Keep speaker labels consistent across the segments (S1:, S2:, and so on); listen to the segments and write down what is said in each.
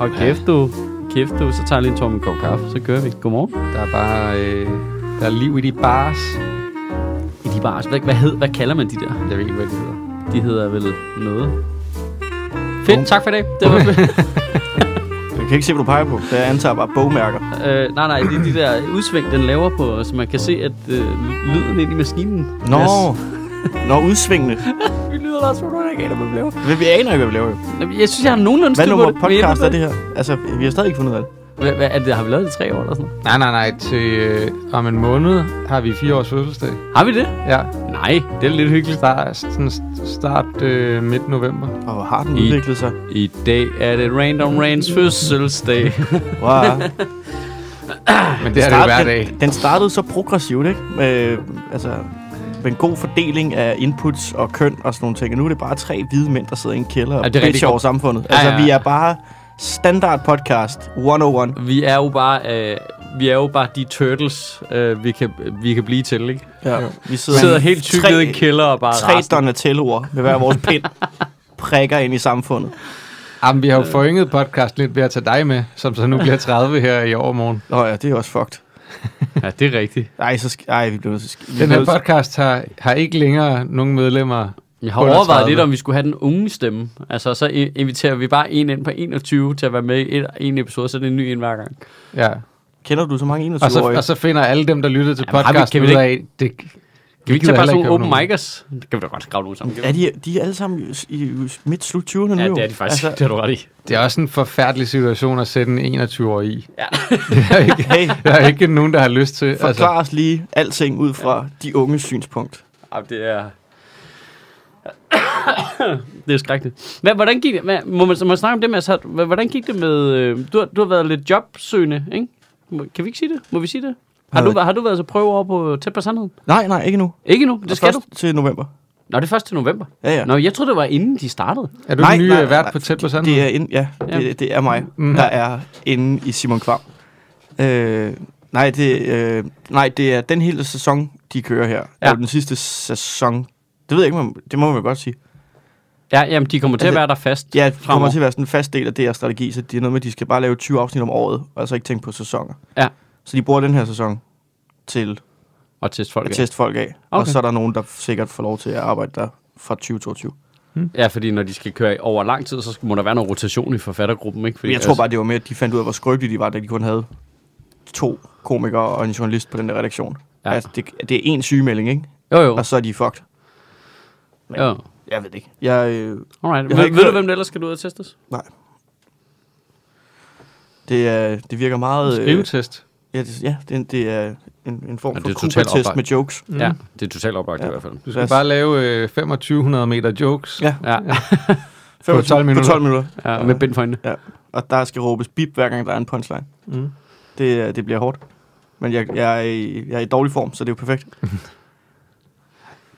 S1: Og kæft du, kæft du, så tager jeg lige en tår med en kop kaffe, så kører vi. Godmorgen.
S2: Der er bare øh, der er liv i de bars.
S1: I de bars, hvad, hvad, hed, hvad kalder man de der?
S2: Jeg ved ikke, hvad det hedder.
S1: De hedder vel noget. Fedt, tak for i dag. Det var,
S3: Jeg kan ikke se, hvad du peger på. Det jeg antager bare bogmærker.
S1: øh, nej, nej, det er de der udsving, den laver på, så man kan se, at øh, lyden ind i maskinen.
S3: Nå,
S1: Yes.
S3: Nå udsvingende.
S1: Vi lyder da også, hvor du ikke aner, hvad vi laver.
S3: Men vi aner ikke, hvad vi laver. jo.
S1: Jamen, Jeg synes, jeg har nogenlunde
S3: Hvad
S1: styr på
S3: nummer
S1: det, men jeg
S3: podcast
S1: ved
S3: er det her? Altså, vi har stadig ikke fundet ud af det.
S1: Hvad, hvad er det? Har vi lavet det i tre år eller sådan noget?
S2: Nej, nej, nej. Til øh, om en måned har vi fire års fødselsdag.
S1: Har vi det?
S2: Ja,
S1: Nej,
S2: det er lidt hyggeligt. Start, sådan st- start øh, midt november.
S3: Og hvor har den
S1: I-
S3: udviklet sig?
S1: i dag er det Random Rains fødselsdag.
S3: Wow.
S2: Men det er det jo hver dag.
S3: den, den startede så progressivt, ikke? Med, altså, med en god fordeling af inputs og køn og sådan nogle ting. Og nu er det bare tre hvide mænd, der sidder i en kælder og
S2: Ja, det er rigtig
S3: bitcher
S2: godt.
S3: over samfundet.
S2: Ja,
S3: Altså,
S2: ja, ja.
S3: vi er bare standard podcast 101.
S1: vi er jo bare... Øh, vi er jo bare de turtles, øh, vi, kan, vi kan blive til, ikke?
S3: Ja, vi
S1: Vi
S3: sidder,
S1: sidder helt tykt
S3: tre-
S1: nede i en kælder og bare
S3: Tre
S1: raser.
S3: Donatello'er med hver vores pind prikker ind i samfundet.
S2: Jamen, vi har jo forynget podcast lidt ved at tage dig med, som så nu bliver 30 her i overmorgen.
S3: Nå ja, det er også fucked.
S1: Ja, det er rigtigt.
S3: Ej, så sk- Ej vi bliver nødt til at sk- vi bliver
S2: Den her
S3: nødt til-
S2: podcast har, har ikke længere nogen medlemmer.
S1: Jeg har
S2: Under
S1: overvejet
S2: 30.
S1: lidt, om vi skulle have den unge stemme. Altså, så i- inviterer vi bare en ind på 21 til at være med i et, en episode, så er det en ny en hver gang.
S2: Ja.
S3: Kender du så mange
S2: Og, så,
S3: 21-årige?
S2: og så finder alle dem, der lyttede til
S1: Jamen, har vi-
S2: podcasten,
S1: kan vi
S2: ud af, det,
S1: Kan vi ikke
S2: gider
S1: tage bare
S2: heller
S1: sådan nogle
S2: ikke
S1: open
S2: høre nogen.
S1: mic'ers? Det kan vi da godt grave nogen sammen.
S3: er de, de er alle sammen i, i midt slut 20'erne nu.
S1: Ja,
S3: jo.
S1: det er de faktisk. Altså,
S3: Altså,
S1: det har du ret i.
S2: det er også en forfærdelig situation at sætte en 21-årig i.
S1: Ja.
S2: Det er ikke,
S3: hey,
S2: der er ikke nogen, der har lyst til.
S3: forklar os lige alting ud fra de unges synspunkt.
S1: Ej, det er... det er skrækkeligt. Hvad, hvordan gik det? Hvad, må, man, så må man snakke om det med, altså, hva- hvordan gik det med... Øh, du, har, du har været lidt jobsøgende, ikke? Må- Kan vi ikke sige det? Må vi sige det? Har
S3: Hvad?
S1: du, har du været så prøve over på tæt på sandheden?
S3: Nej, nej, ikke nu.
S1: Ikke nu, det skal du.
S3: først til november.
S1: Nå, det er først til november.
S3: Ja, ja.
S1: Nå, jeg troede, det var inden de startede.
S2: altså, Er du
S3: Nej,
S2: nej, ny
S3: nej,
S2: nej, vært
S3: nej,
S2: på tæt på sandheden?
S3: Det er ind, ja,
S1: Ja.
S3: det, det er mig,
S2: Mhm.
S3: mm-hmm. der er inde i Simon Kvam. Øh, nej, det, øh, nej, det er den hele sæson, de kører her. Ja.
S1: Ja.
S3: Og den sidste sæson. Det ved jeg ikke, man, det må man godt sige.
S1: Ja, jamen, de kommer til at
S3: Altså,
S1: være der fast.
S3: Ja, det kommer
S1: fremover.
S3: til at være sådan en fast del af deres strategi, så det er noget med, at de skal bare lave 20 afsnit om året, og altså ikke tænke på sæsoner.
S1: Ja.
S3: Så de bruger den her sæson til
S1: Og teste
S3: okay.
S1: folk.
S3: at
S1: af.
S3: teste folk af. Okay. Og
S1: Okay.
S3: så er der nogen, der sikkert får lov til at arbejde der fra 2022.
S1: Ja, fordi når de skal køre over lang tid, så skal- må der være noget rotation i forfattergruppen, ikke?
S3: Men
S1: Fordi, altså-
S3: jeg tror bare, det var mere, at de fandt ud af, hvor skrøbelige de var, da de kun havde to komikere og en journalist på den der redaktion.
S1: Ja.
S3: Ja. Altså, det, det er én sygemelding, ikke?
S1: Jo, jo.
S3: Og så er de fucked. men-
S1: jo.
S3: Jeg ved det ikke. Jeg, øh,
S1: Alright.
S3: Jeg
S1: Ved,
S3: har ikke
S1: ved du,
S3: hørt-
S1: hvem det ellers skal du ud og testes?
S3: det, er, det virker meget... øh,
S2: Skrivetest.
S3: ja, det, ja det, det er en, en form
S1: Ja,
S3: ja,
S1: det er
S3: for
S1: totalt
S3: Cooper-test
S1: oplagt.
S3: med jokes.
S1: Ja, det er totalt oplagt ja. i
S3: Mhm. Ja.
S1: hvert fald.
S2: Du skal
S3: Lad os-
S2: bare lave øh, 2500 meter jokes.
S3: Ja,
S1: Ja,
S2: På 12
S3: På
S2: minutter.
S3: 12 minutter.
S1: ja med bind for øjnene.
S3: Og der skal råbes bip, hver gang der er en punchline.
S2: Mm.
S3: Det, er- det bliver hårdt. Men jeg, jeg, er i, jeg er i dårlig form, så det er jo perfekt.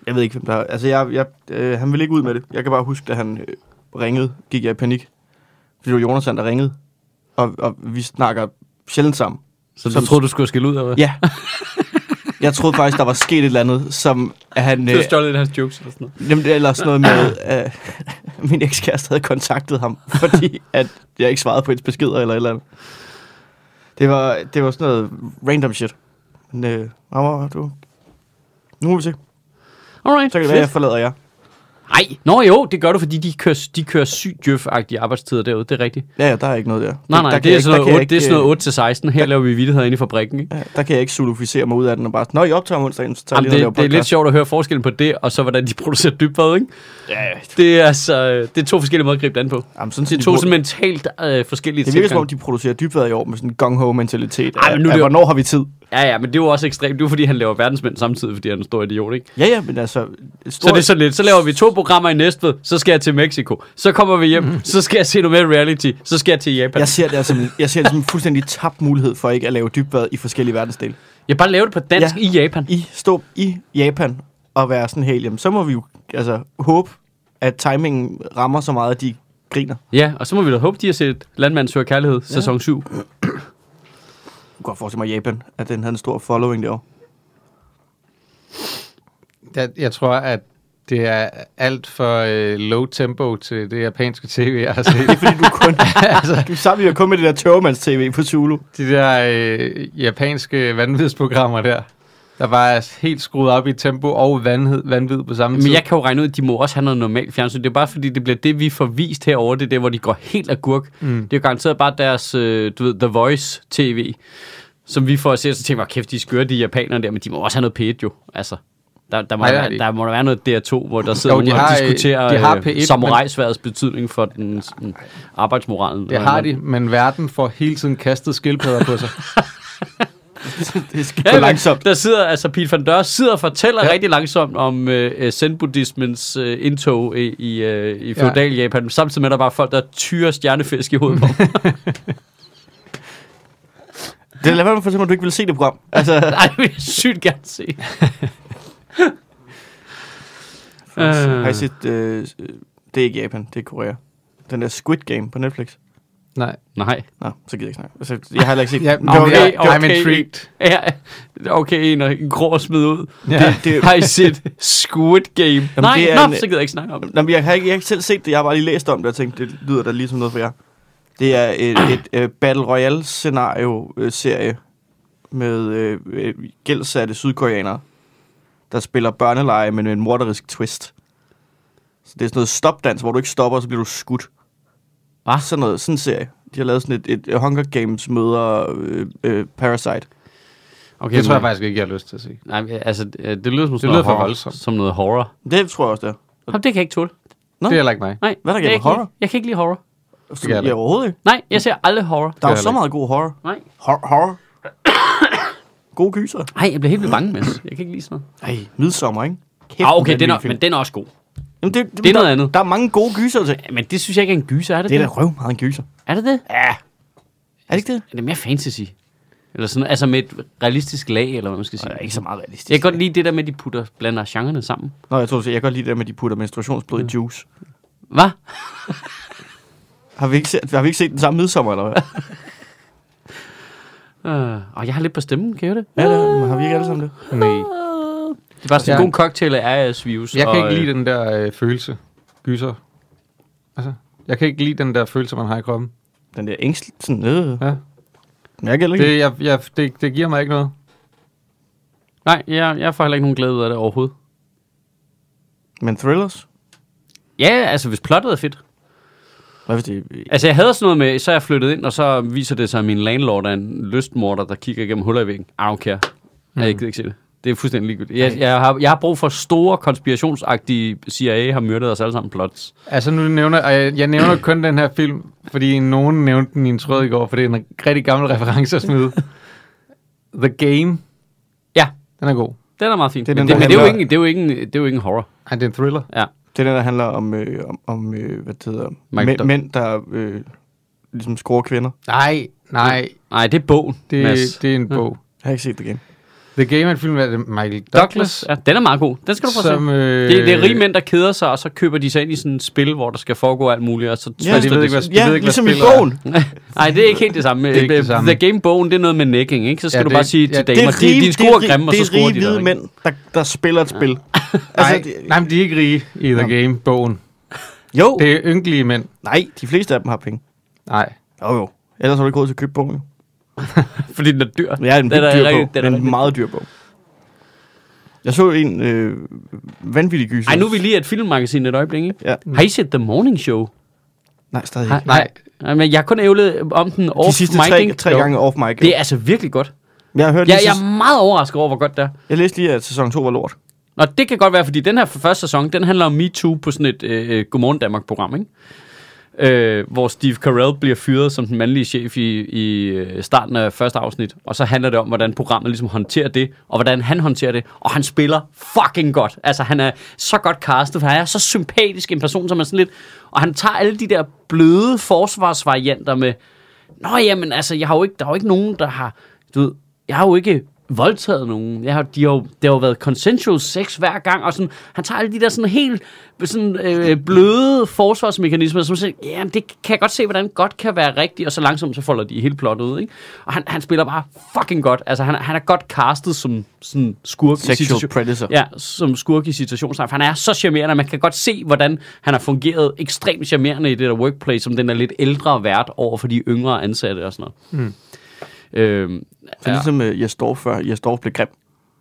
S3: jeg ved ikke, hvem der... Altså, jeg, jeg, øh, han ville ikke ud med det. Jeg kan bare huske, da han øh, ringede, gik jeg i panik. Fordi det var Jonathan, der ringede. Og, og vi snakker sjældent sammen.
S1: Så
S3: Som-
S1: du troede, du skulle skille ud af det?
S3: Ja. Jeg troede faktisk, der var sket et eller andet, som at han...
S1: Du har
S3: Øh,
S1: stjålet en af hans jokes eller sådan noget.
S3: jamen, det er ellers noget med, at øh, min ekskæreste havde kontaktet ham, fordi at jeg ikke svarede på hendes beskeder eller et eller andet. Det var, det var sådan noget random shit. Men øh, ham var- du... Nu må vi se.
S1: Alright,
S3: Så kan det være, jeg forlader jer.
S1: Nej, nå jo, det gør du, fordi de kører, de kører sygt djøf-agtige arbejdstider derude, det er rigtigt.
S3: Ja, ja, der er ikke noget der.
S1: Nej, nej,
S3: der,
S1: det,
S3: kan
S1: det, er
S3: jeg
S1: sådan
S3: ikke- øh,
S1: noget,
S3: der
S1: 8, det er sådan
S3: kan jeg
S1: noget 8 til 16. Her laver vi vidtigheder inde i fabrikken, ikke?
S3: ikke, øh, ja, Der kan jeg ikke soluficere mig ud af den og bare... Nå, I optager om onsdagen, så tager jeg
S1: Jamen,
S3: lige ned og
S1: det, det er
S3: laver
S1: lidt
S3: podcast.
S1: sjovt at høre forskellen på det, og så hvordan de producerer dybvad, ikke?
S3: Ja, ja.
S1: Det er altså, øh, det er to forskellige måder at gribe det an på.
S3: Jamen, sådan,
S1: Det er
S3: de
S1: to
S3: burde-
S1: sådan mentalt øh, forskellige
S3: Det virker som om, de producerer dybvad i år med sådan en gung-ho-mentalitet.
S1: Ej, men nu er
S3: af,
S1: det jo-
S3: hvornår har vi tid?
S1: Ja, ja, men det er jo også ekstremt. Det er jo, fordi han laver verdensmænd samtidig, fordi han er en stor idiot, ikke?
S3: Ja, ja, men altså... et
S1: Så
S3: stort-
S1: det er sådan lidt, så laver vi to programmer i Næstved, så skal jeg til Mexico, så kommer vi hjem, så skal jeg se noget mere reality, så skal jeg til Japan.
S3: Mm. Jeg
S1: Jeg,
S3: ser det, altså, jeg ser det som en fuldstændig tabt mulighed for ikke at lave dybvad i forskellige verdensdele.
S1: jeg bare lave det på dansk ja.
S3: Ja.
S1: i Japan.
S3: I stå i Japan og være sådan helt, jamen, så må vi jo altså, håbe, at timingen rammer så meget, at de griner.
S1: Ja, og så må vi da håbe, de har set Landmand søger kærlighed, ja. sæson 7.
S3: Jeg kan godt forestille mig Japan, at den havde en stor following derovre.
S2: Jeg, jeg tror, at Det er alt for øh, low tempo til det japanske tv, jeg har set.
S3: Det er fordi, du kun...
S2: altså,
S3: Du sammenligner kun med det der tørremands-tv på Zulu.
S2: de der øh, japanske vanvidsprogrammer der, der bare er helt skruet op i tempo og vanvid, vanvid på samme tid.
S1: Men jeg kan jo regne ud, at de må også have noget normalt fjernsyn. Det er bare fordi, det bliver det, vi får vist herovre. Det er der, hvor de går helt agurk.
S2: Mm.
S1: Det er jo garanteret bare deres, øh, du ved, The Voice TV, som vi får at se, og så tænker jeg, "Hvor kæft, de er skøre, de japanere der, men de må også have noget p jo, altså. Der, der, må
S2: Nej,
S1: Nej,
S2: det har
S1: være,
S2: de
S1: der må der være noget DR2, hvor der sidder
S2: Jo,
S1: jo,
S2: de
S1: de nogen
S2: har,
S1: og
S2: øh,
S1: diskuterer
S2: de
S1: de
S2: har
S1: har
S2: P1, men-
S1: P1, samurajsværdets betydning for den sådan, arbejdsmoralen.
S2: det har de, men verden får hele tiden kastet skildpadder på sig.
S3: Det er skidt
S1: Ja,
S3: for
S1: langsomt.
S3: langsomt.
S1: Der sidder altså Pete van Dør sidder og fortæller
S2: Ja.
S1: ja. rigtig langsomt om øh, zen-buddhismens øh, indtog i, i, øh, i feudal Japan, samtidig med at der bare er folk, der tyrer stjernefisk i hovedet på. dem.
S3: Det er lad være med at fortælle mig, at du ikke vil se det program. Altså,
S1: Nej, det vil jeg sygt gerne se. Øh.
S3: har I set... Øh, det er ikke Japan, det er Korea. Den der Squid Game på Netflix.
S2: Nej.
S1: Nej.
S3: Nå, så gider jeg ikke snakke. Altså, jeg har heller ikke set...
S2: Ja,
S3: det,
S2: men
S3: var,
S2: jeg-
S3: det,
S1: okay,
S2: I'm
S1: okay.
S2: intrigued.
S1: Ja, okay, en, og en grå smid ud.
S2: Ja.
S3: det,
S1: Har I set Squid Game? Jamen, Nej,
S3: det er
S1: nå,
S3: en-
S1: så gider jeg ikke snakke om det.
S3: Nå, men jeg har ikke, jeg har ikke selv set det, jeg har bare lige læst om det og tænkt, det lyder da ligesom noget for jer. Det er et, et øh, Battle Royale-scenario-serie med øh, øh, gældsatte sydkoreanere, der spiller børneleje, men med en morderisk twist. Så det er sådan noget stopdans, hvor du ikke stopper, og så bliver du skudt.
S1: Hva?
S3: Sådan, noget, sådan en serie. De har lavet sådan et, et Hunger Games møder øh, øh, Parasite.
S1: Okay,
S2: Det tror jeg
S1: men-
S2: faktisk ikke, jeg har lyst til at se.
S1: Nej, altså, det det lyder som, sådan
S2: lyder
S1: noget
S2: for
S1: horror,
S2: voldsomt.
S1: som noget horror.
S3: Det tror jeg også, det er.
S1: Jamen, det kan jeg ikke tåle.
S2: Nå.
S3: Nå.
S2: Det er heller ikke mig.
S1: Nej,
S3: Hvad er der
S1: det
S3: galt med
S1: ikke
S3: horror?
S1: min- Jeg kan ikke lide horror.
S3: Så,
S2: kan jeg da
S3: ja,
S2: ikke.
S3: overhovedet ikke.
S1: Nej, jeg ser aldrig horror.
S3: Der er jo
S2: jeg
S3: så
S2: ikke.
S3: meget god horror.
S1: Nej.
S3: Hor- horror. Gode gyser.
S1: Nej, jeg bliver helt vildt bange, men jeg kan ikke lide sådan noget.
S3: Ej, midsommer, ikke? Kæft,
S1: Ah, okay,
S3: en
S1: den er,
S3: vanvittig film.
S1: men den er også god.
S3: Jamen, det,
S1: det er
S3: der,
S1: noget andet.
S3: Der er mange gode gyser til.
S1: Ja, Men det synes jeg ikke er en gyser, er det
S3: Det
S1: det?
S3: er da røv meget en gyser.
S1: Er det det?
S3: Ja. Er det ikke det?
S1: Er det mere fantasy? Eller sådan, altså med et realistisk lag, eller hvad man skal sige.
S3: Det er ikke så meget realistisk.
S1: Jeg kan godt lide det der med, at de putter, blander genrerne sammen.
S3: Nå, jeg tror, du siger, jeg kan godt lide det der med, at de putter menstruationsblod i juice.
S1: Hvad?
S3: Har vi ikke set, har vi ikke set den samme midsommer, eller hvad?
S1: Uh, og jeg har lidt på stemmen, kan jeg høre det?
S3: ja, det, har vi ikke alle sammen det?
S2: Nej.
S1: Det er bare sådan en
S2: Ja.
S1: god cocktail af Arias-virus.
S2: Jeg kan
S1: og,
S2: ikke
S1: øh,
S2: lide den der øh, følelse. Gyser. Altså, jeg kan ikke lide den der følelse, man har i kroppen.
S3: Den der ængst, sådan, øh.
S2: Ja.
S3: Men jeg kan heller ikke.
S2: Det, jeg, jeg, det, det giver mig ikke noget.
S1: Nej, jeg, jeg får heller ikke nogen glæde ud af det overhovedet.
S3: Men thrillers?
S1: Ja, altså hvis plottet er fedt.
S3: Hvad hvis det
S1: Altså jeg havde sådan noget med, så er jeg flyttet ind, og så viser det sig, at min landlord er en lystmorder, der kigger igennem huller i væggen. I don't care. Mm. Jeg gider ikke se det. Det er fuldstændig ligegyldigt. Jeg, jeg, har, jeg har brug for store konspirationsagtige CIA har myrdet os alle sammen plots.
S2: Altså nu nævner, og jeg, jeg nævner kun den her film, fordi nogen nævnte den i en tråd i går, for det er en rigtig gammel reference at smide. The Game,
S1: Ja,
S2: den er god.
S1: den er meget fin.
S3: Det er
S1: men
S3: den,
S1: det,
S3: der
S1: men det, er jo
S3: handler-
S1: ikke, det, er jo ikke, en- det er jo ikke en horror.
S2: Ej, det er en thriller.
S3: Det er den, der handler om, øh, om, om øh, hvad det hedder,
S1: Mike
S3: mænd,
S1: Doug-
S3: mænd, der øh, ligesom scorer kvinder.
S2: Nej, nej,
S1: Nej, det er bogen,
S2: det,
S1: Mads.
S2: det er en bog.
S3: Jeg har ikke set det igen.
S2: The Game er en film af Michael Douglas,
S1: Douglas, ja, den er meget god. Den skal du prøve at se.
S2: som... Øh,
S1: Det, det er rige mænd, der keder sig, og så køber de sig ind i sådan et spil, hvor der skal foregå alt muligt, og så
S3: Ja,
S1: twister
S3: de
S2: ved
S1: det
S2: ikke, hvad
S1: sig.
S2: ved
S3: Ja,
S2: ikke, hvad
S3: ligesom i
S2: spillet er.
S3: bogen.
S1: Nej, det er ikke helt det samme. Øh,
S2: Det er ikke det samme.
S1: The Game-bogen, det er noget med necking, ikke? Så skal
S2: Ja,
S1: ja, du
S2: det-
S1: bare sige
S2: ja,
S1: til damer, de, de er
S3: det
S1: score
S3: rig-
S1: grimme, og
S3: det
S1: så
S3: er
S1: scorer
S3: rige
S1: de der,
S3: hvide
S1: ikke?
S3: mænd, der, der spiller et spil.
S2: Nej,
S3: altså, det-
S2: nej, men de er ikke rige i The
S3: Nå.
S2: Game, bogen.
S3: Jo,
S2: Det er ynkelige mænd.
S3: nej, de fleste af dem har penge.
S2: Nej.
S3: Jo, jo. Ellers har du ikke råd til at købe bogen. jo.
S1: Fordi den er dyr.
S3: Men jeg er en
S1: Den
S3: vildt
S1: er
S3: dyr
S1: rigtig-
S3: bog.
S1: den
S3: Den
S1: er
S3: er
S1: rigtig-
S3: en meget dyr bog. Jeg så en øh, vanvittig gyser.
S1: Ej, nu er vi lige et filmmagasin et øjeblik, ikke?
S3: Ja.
S1: Har I set The Morning Show?
S3: Nej, stadig
S1: Har-
S3: ikke.
S2: Nej.
S1: Nej, men jeg har kun ævlet om den off
S3: De sidste
S1: mic,
S3: tre,
S1: ikke?
S3: tre
S1: Jo.
S3: gange off mic.
S1: Det er altså virkelig godt.
S3: Jeg har hørt
S1: Ja,
S3: lige,
S1: jeg
S3: sidst-
S1: er meget overrasket over, hvor godt det er.
S3: jeg læste lige, at sæson 2 var lort.
S1: Nå, det kan godt være, fordi den her for første sæson, den handler om MeToo på sådan et øh, øh, Godmorgen Danmark-program, ikke? Øh, hvor Steve Carell bliver fyret som den mandlige chef i, i øh, starten af første afsnit. Og så handler det om, hvordan programmet ligesom håndterer det, og hvordan han håndterer det. Og han spiller fucking godt. Altså, han er så godt castet, for han er så sympatisk en person, som er sådan lidt... Og han tager alle de der bløde forsvarsvarianter med... Nå, jamen, altså, jeg har jo ikke, der er jo ikke nogen, der har... Du ved, jeg har jo ikke voldtaget nogen. Jeg har, de har jo, det har jo været consensual sex hver gang, og sådan, han tager alle de der sådan helt sådan, øh, bløde forsvarsmekanismer, som siger, ja, men det kan jeg godt se, hvordan godt kan være rigtigt, og så langsomt så folder de helt plottet ud, ikke? Og han, han spiller bare fucking godt. Altså, han, er- han er godt castet som sådan skurk. i
S3: Sexual
S1: situation-
S3: predator.
S1: Ja, som skurk i situationstegn. For han er så charmerende, og man kan godt se, hvordan han har fungeret ekstremt charmerende i det der workplace, som den er lidt ældre vært over for de yngre ansatte og sådan noget. Mm. Øhm,
S3: Så ligesom øh, jeg står før, jeg står blev grim.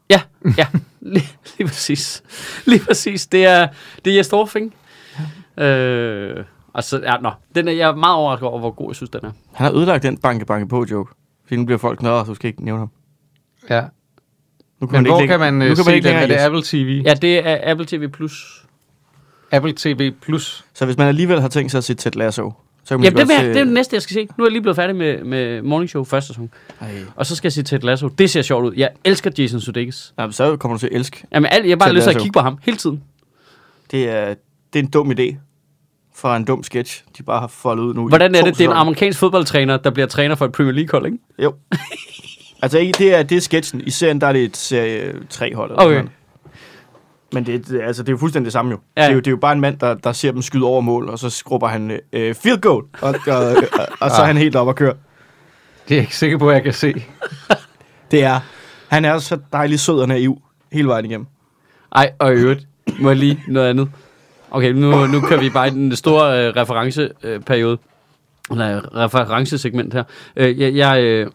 S1: Ja, ja. Lige, lige præcis. Lige præcis. Det er, det er Jes Dorf, ikke? Øh, og så, ja, nå. Den er, jeg er meget overrasket over, hvor god jeg synes, den er.
S3: Han har ødelagt den banke-banke-på-joke. Fordi nu bliver folk nødder, så du skal ikke nævne ham.
S2: Ja.
S3: Nu kan
S2: Men hvor
S3: ikke
S2: kan
S3: længere-
S2: man
S3: nu
S2: øh, se
S3: ikke
S2: den?
S3: længere-
S2: Er det Apple TV?
S1: Ja, det er Apple TV+. Plus.
S2: Apple TV Plus.
S3: Så hvis man alligevel har tænkt sig at se Ted Lasso, så kan man
S1: Jamen, det,
S3: godt
S1: vil, jeg-
S3: se-
S1: det er det næste, jeg skal se. Nu er jeg lige blevet færdig med, med Morning Show første sæson.
S3: Ej.
S1: Og så skal jeg se Ted Lasso. Det ser sjovt ud. Jeg elsker Jason Sudeikis.
S3: Jamen, så kommer du til at elske.
S1: Jamen, alt, jeg har bare
S3: Ted
S1: lyst til at
S3: Lasso.
S1: kigge på ham hele tiden.
S3: Det er, det er en dum idé fra en dum sketch, de bare har foldet ud nu. i
S1: Hvordan er det,
S3: to
S1: det er en
S3: sæsoner.
S1: amerikansk fodboldtræner, der bliver træner for et Premier League-hold, ikke?
S3: Jo. altså, ikke- det er, det er sketchen. I serien, der er det et serie 3 hold.
S1: Okay.
S3: Men det, det, altså, det er jo fuldstændig det samme jo.
S1: Ja.
S3: Ja. Det, er jo det er jo bare en mand, der, der ser dem skyde over mål, og så skrubber han øh, field goal, og, og, og, og så er han helt op og kører.
S2: Det er jeg ikke sikker på, at jeg kan se.
S3: Det er, han er så dejlig sød og naiv hele vejen igennem.
S1: Ej, og i øvrigt, må jeg lige noget andet? Okay, nu, nu kører vi bare i den store øh, referenceperiode. Øh, periode. eller øh, referencesegment her. Øh, jeg, jeg, øh,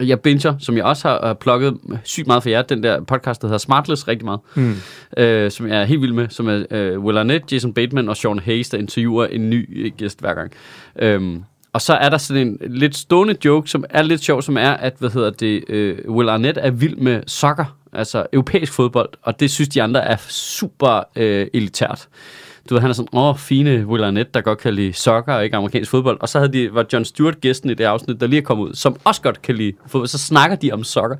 S1: jeg binger, som jeg også har, har plukket sygt meget for jer, den der podcast, der hedder Smartless, rigtig meget. Mm. Øh, som jeg er helt vild med, som er øh, Will Arnett, Jason Bateman og Sean Hayes, der interviewer en ny øh, gæst hver gang. Øhm, og så er der sådan en lidt stående joke, som er lidt sjov, som er, at hvad hedder det, øh, Will Arnett er vild med soccer, altså europæisk fodbold, og det synes de andre er super øh, elitært du ved, han er sådan, åh, fine Will Arnett, der godt kan lide soccer og ikke amerikansk fodbold. Og så havde de, var John Stewart gæsten i det afsnit, der lige er kommet ud, som også godt kan lide fodbold. Så snakker de om soccer.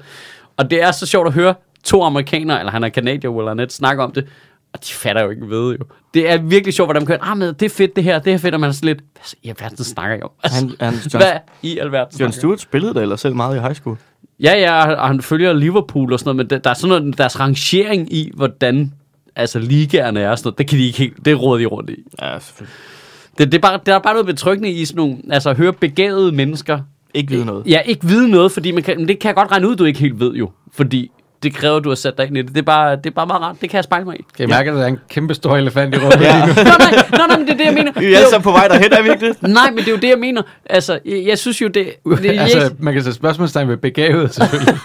S1: Og det er så sjovt at høre to amerikanere, eller han er kanadier, Will Arnett, snakke om det. Og de fatter jo ikke ved jo. Det er virkelig sjovt, hvordan man kan, ah, men det er fedt det her, det er fedt, og man er sådan lidt, hvad i alverden snakker jeg om? Altså,
S3: Han, han,
S1: John, hvad i alverden
S3: John
S1: snakker
S3: Stewart spillede da ellers selv meget i high school.
S1: Ja, ja, og han følger Liverpool og sådan noget, men der, der er sådan noget, deres rangering i, hvordan altså ligaerne er og sådan noget, det kan de ikke helt, det råder de rundt i.
S3: Ja, selvfølgelig.
S1: Det, det er bare, der er bare noget betryggende i sådan nogle, altså at høre begavede mennesker.
S3: Ikke vide noget.
S1: Øh, Ja, ikke vide noget, fordi man kan, men det kan jeg godt regne ud, du ikke helt ved jo. Fordi det kræver, at du har sat dig ind i det. Det er bare, det er bare meget rart. Det kan jeg spejle mig i.
S2: Kan I mærke, at der er en kæmpe stor elefant i rummet?
S3: Ja.
S2: lige
S1: Nå,
S2: nu?
S1: nej, nej, nej, men det er det, jeg mener.
S3: Vi er alle
S1: Det er
S3: sammen på vej derhen, er vi ikke det?
S1: jo, nej, men det er jo det, jeg mener. Altså, jeg, jeg synes jo, det... det jeg,
S2: altså, man kan sætte spørgsmålstegn ved begavet, selvfølgelig.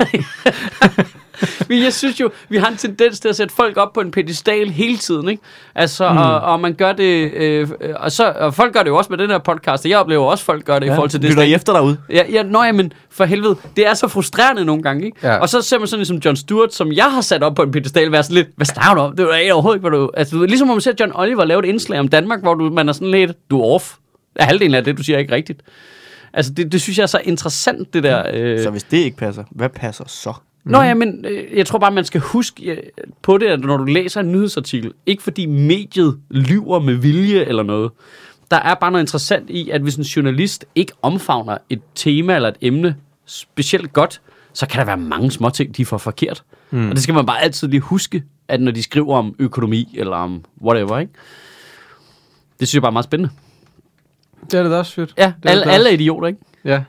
S1: Men jeg synes jo, vi har en tendens til at sætte folk op på en pedestal hele tiden, ikke? Altså, mm. og, og man gør det... Øh, øh, og, så, og folk gør det jo også med den her podcast, og jeg oplever også, at folk gør det ja, i forhold til det.
S3: Lytter I efter derude?
S1: Ja, ja, nå ja, men for helvede, det er så frustrerende nogle gange, ikke? Ja.
S2: Ja.
S1: Og så ser man sådan en som John Stewart, som jeg har sat op på en pedestal, være sådan lidt, hvad snakker du om? Det er overhovedet ikke, hvad du... Altså, du ved, ligesom om man ser John Oliver lave et indslag om Danmark, hvor du, man er sådan lidt, du er off. Halvdelen af det, du siger, er ikke rigtigt. Altså, det, det synes jeg er så interessant, det der... Øh...
S3: Så hvis det ikke passer, hvad passer så?
S1: Nå ja, men øh, jeg tror bare, man skal huske øh, på det, at når du læser en nyhedsartikel, ikke fordi mediet lyver med vilje eller noget, der er bare noget interessant i, at hvis en journalist ikke omfavner et tema eller et emne specielt godt, så kan der være mange små ting, de får forkert. Mm. Og det skal man bare altid lige huske, at når de skriver om økonomi eller om whatever, ikke? Det synes jeg bare er meget spændende.
S2: det er det da også fedt.
S1: Ja,
S2: det
S1: alle,
S2: da
S1: alle er
S2: også-
S1: idioter, ikke?
S2: Ja.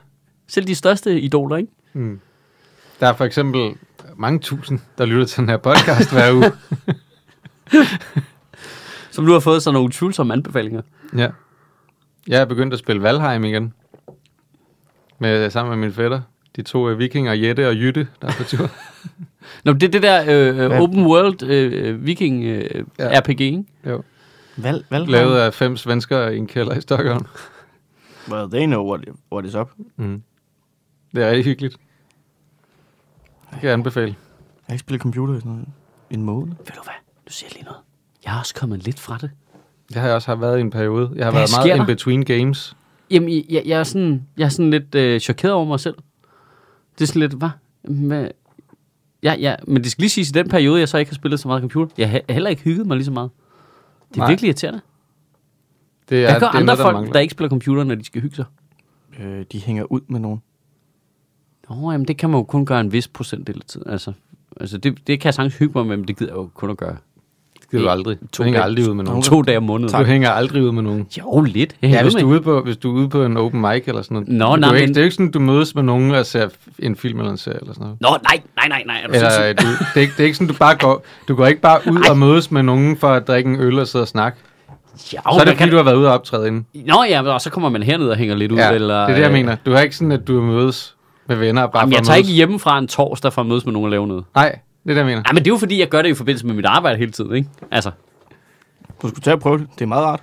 S1: Selv de største idoler, ikke?
S2: Der er for eksempel mange tusind, der lytter til den her podcast hver uge.
S1: Som nu har fået sådan nogle tvivlsomme anbefalinger.
S2: Ja. Jeg er begyndt at spille Valheim igen. Med, sammen med mine fætter. De to er vikinger, Jette og Jytte, der er på tur.
S1: Nå, men det er det der øh, øh,
S3: Ja.
S1: open world øh, viking øh, ja.
S2: Ja.
S1: RPG, ikke?
S2: Jo.
S3: Val, val,
S2: Lavet af fem svensker i en kælder i Stockholm.
S3: Well, they know what, what is up. Jeg
S2: Mm. Det er rigtig hyggeligt. Det kan jeg anbefale.
S3: har ikke spillet computer i sådan noget. en måned.
S1: Ved du hvad? Nu siger jeg lige noget. Jeg er også kommet lidt fra det.
S2: Jeg har også har været i en periode. Jeg har
S1: Hvad
S2: været
S1: sker
S2: meget
S1: der?
S2: in between games.
S1: Jamen, jeg- jeg, jeg, er, sådan, jeg er sådan lidt øh, chokeret over mig selv. Det er sådan lidt, hvad? hvad? Ja, ja, men det skal lige siges, i den periode, jeg så ikke har spillet så meget computer, jeg har he- heller ikke hygget mig lige så meget. Det er
S2: Nej.
S1: virkelig irriterende.
S2: Det
S1: Ja, Hvad gør
S2: det
S1: andre
S2: noget,
S1: folk, der,
S2: mangler.
S1: der ikke spiller computer, når de skal hygge sig?
S3: Øh, de hænger ud med nogen.
S1: Nå, Åh, jamen det kan man jo kun gøre en vis procentdel af tiden. Altså, altså det, det kan jeg sagtens hygge mig med, men det gider jeg jo kun at gøre
S2: Det gider du aldrig. Du hænger aldrig ud med nogen.
S1: to dage om måneden.
S2: Du hænger aldrig ud med nogen.
S1: Jo, lidt. Jeg
S2: Ja,
S1: hænger
S2: hvis
S1: med-
S2: du, er ude på, hvis du er ude på en open mic eller sådan noget.
S1: Nå,
S2: Du er
S1: nej,
S2: ikke,
S1: men-
S2: Det er jo ikke sådan, du mødes med nogen og ser en film eller en serie eller sådan noget.
S1: Nå, nej, nej, nej, nej. Er du
S2: Eller,
S1: sindssyg?
S2: øh, du, det, er ikke, det er ikke sådan, du bare går... Du går ikke bare ud og mødes med nogen for at drikke en øl og sidde og snakke.
S1: Jo,
S2: Så er
S1: man
S2: det, fordi du har været ude og optræde inden.
S1: Nå ja, men- og så kommer man herned og hænger lidt ud.
S2: Ja,
S1: eller,
S2: det er det, jeg
S1: øh,
S2: mener. Du har ikke sådan, at du mødes med venner og bare
S1: Jamen,
S2: for
S1: jeg
S2: at
S1: tager
S2: mødes.
S1: ikke hjemmefra en torsdag for at mødes med nogen og lave noget.
S2: Nej, det er det, jeg mener.
S1: Nej, men det er jo fordi, jeg gør det i forbindelse med mit arbejde hele tiden, ikke? Altså,
S3: Du skulle tage og prøve det. Det er meget rart.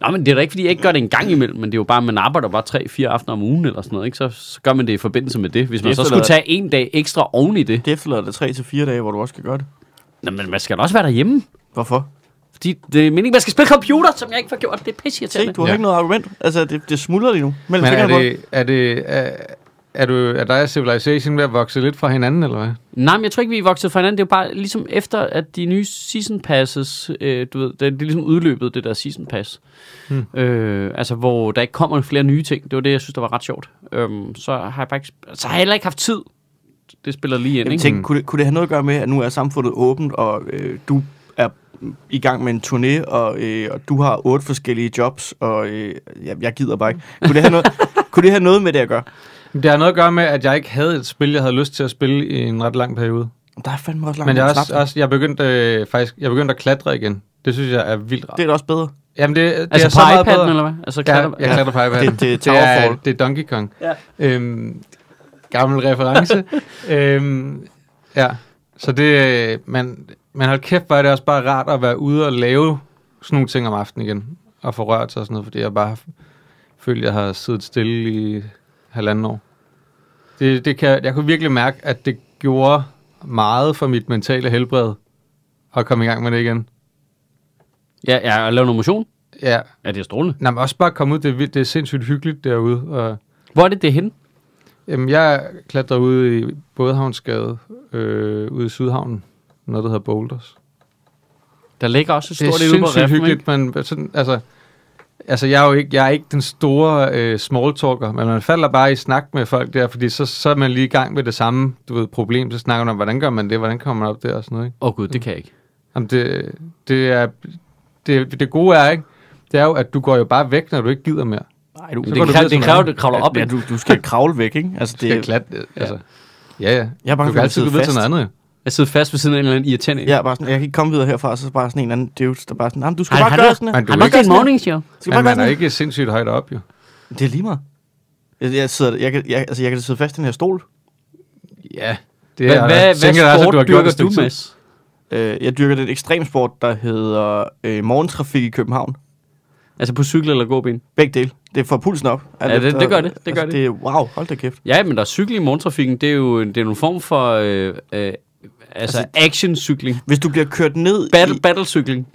S1: Nå, men det er da ikke, fordi jeg ikke gør det en gang imellem, men det er jo bare, at man arbejder bare 3-4 aftener om ugen eller sådan noget, ikke? Så, så gør man det i forbindelse med det. Hvis man
S3: Det
S1: så skulle
S3: efterlader-
S1: tage en dag ekstra oven i det,
S3: Det efterlader dig tre til fire dage, hvor du også skal gøre det.
S1: Nå, men man skal da også være derhjemme.
S3: Hvorfor?
S1: Fordi det er meningen, man skal spille computer, som jeg ikke får gjort. Det er
S3: Se,
S1: pisseirriterende.
S3: du har
S2: Ja.
S3: ja. ikke noget argument. Altså, det, det smuldrer lige nu. Men,
S2: Men er
S3: det...
S2: det, er det, er, er, du, er dig og Civilization ved at vokse lidt fra hinanden, eller hvad?
S1: Nej, men jeg tror ikke, vi er vokset fra hinanden. Det er jo bare ligesom efter, at de nye season passes, øh, du ved, det, det er ligesom udløbet, det der season pass. Hmm. Øh, altså, hvor der ikke kommer flere nye ting. Det var det, jeg synes, der var ret sjovt. Øhm, så har jeg bare ikke, så har jeg heller ikke haft tid. Det spiller lige ind,
S3: Jamen,
S1: ikke?
S3: tænk, kunne, det, kunne det have noget at gøre med, at nu er samfundet åbent, og øh, du er i gang med en turné, og, øh, og du har otte forskellige jobs, og øh, jeg, jeg gider bare ikke. Kunne det have noget, kunne det have noget med det at gøre?
S2: Det har noget at gøre med, at jeg ikke havde et spil, jeg havde lyst til at spille i en ret lang periode.
S3: Der er fandme også langt
S2: Men jeg er
S3: mellem
S2: også,
S3: snapsene.
S2: også jeg er begyndt, øh, faktisk, jeg er begyndt at klatre igen. Det synes jeg er vildt rart.
S3: Det er da også bedre.
S2: Jamen det, det
S1: Altså
S2: er så
S1: på
S2: meget
S1: iPad'en,
S2: bedre.
S1: eller hvad? Altså,
S2: Ja,
S1: klatter,
S2: jeg klatrer på iPad'en.
S3: Det- det er
S2: er,
S3: Towerfall.
S2: det er Donkey Kong.
S1: Ja.
S2: Øhm, gammel reference. øhm, ja, så det, øh, men, men hold kæft, hvor er det også bare rart at være ude og lave sådan nogle ting om aftenen igen, og få rørt sig og sådan noget, fordi jeg bare følte, jeg har siddet stille i halvanden år. Det, det kan, jeg kunne virkelig mærke, at det gjorde meget for mit mentale helbred at komme i gang med det igen.
S1: Ja, ja, og lave noget motion.
S2: Ja,
S1: Ja, det er strålende.
S2: Nå, men også bare komme ud, det, er vildt- det er sindssygt hyggeligt derude, og
S1: Hvor er det, det er henne?
S2: Jamen, jeg klatrer ude i Bådehavnsgade, øh, ude i Sydhavnen. Noget, der hedder Boulders.
S1: Der ligger også et
S2: Det er
S1: stort det ude på
S2: sindssygt
S1: Refn,
S2: hyggeligt,
S1: hyggeligt.
S2: men sådan, altså... Altså, jeg er jo ikke, jeg er ikke den store øh, smalltalker, men man falder bare i snak med folk der, fordi så, så er man lige i gang med det samme du ved, problem. Så snakker man om, hvordan gør man det, hvordan kommer man op der og sådan noget. Ikke?
S1: Åh oh, gud, det kan jeg ikke.
S2: Jamen, det, det, er, det, det gode er, ikke? det er jo, at du går jo bare væk, når du ikke gider mere.
S3: Nej, du
S2: Så
S1: Det,
S2: går du
S1: kræver,
S2: videre
S1: det
S2: til noget
S1: kræver,
S2: andet.
S1: det kravler op.
S3: ja, du, du skal kravle væk, ikke? Altså,
S2: Det er
S3: det,
S2: klat, øh, altså. Ja, ja.
S3: Jeg er bange for,
S2: du kan
S3: at
S2: altid gå
S3: sidde
S2: videre til
S3: fast.
S2: noget andet. jo.
S1: Jeg sidder fast ved siden af en eller anden irriterende.
S3: jeg, er bare sådan, jeg kan ikke komme videre herfra, så er der bare sådan en eller anden dude, der bare sådan, "Jamen, du skal
S1: Ej,
S3: bare
S1: han er-
S3: gøre sådan her.
S2: Men
S3: Du
S2: du
S1: Han
S2: er
S1: var
S3: skal
S1: ikke
S3: bare
S1: en
S3: gøre sådan
S1: morning show.
S3: her. Du skal
S2: Men
S3: bare gøre
S2: man er
S3: sådan her.
S2: ikke sindssygt højt op, jo.
S3: Det er lige meget. Jeg, jeg, sidder, jeg, kan, jeg, altså, jeg kan sidde fast i den her stol.
S2: Ja. Det
S1: Hvad,
S2: er,
S1: hvad,
S2: jeg
S1: hvad
S2: tænker da også,
S1: sport
S2: at du har gjort
S1: dyrker
S2: det
S1: du,
S2: et stykke tid.
S1: Mads?
S3: Øh, jeg dyrker den ekstrem sport, der hedder øh, morgentrafik i København.
S1: Altså på cykel eller gåben?
S3: Begge dele. Det får pulsen op. altså,
S1: Ja, det- det gør det. Det gør det.
S3: det. er- Wow, hold da kæft.
S1: Ja, men der er cykel i morgentrafikken. Det er jo det er en form for øh, øh, altså actioncykling.
S3: Hvis du bliver kørt ned,
S1: Battle,
S3: i,
S1: battlecykling.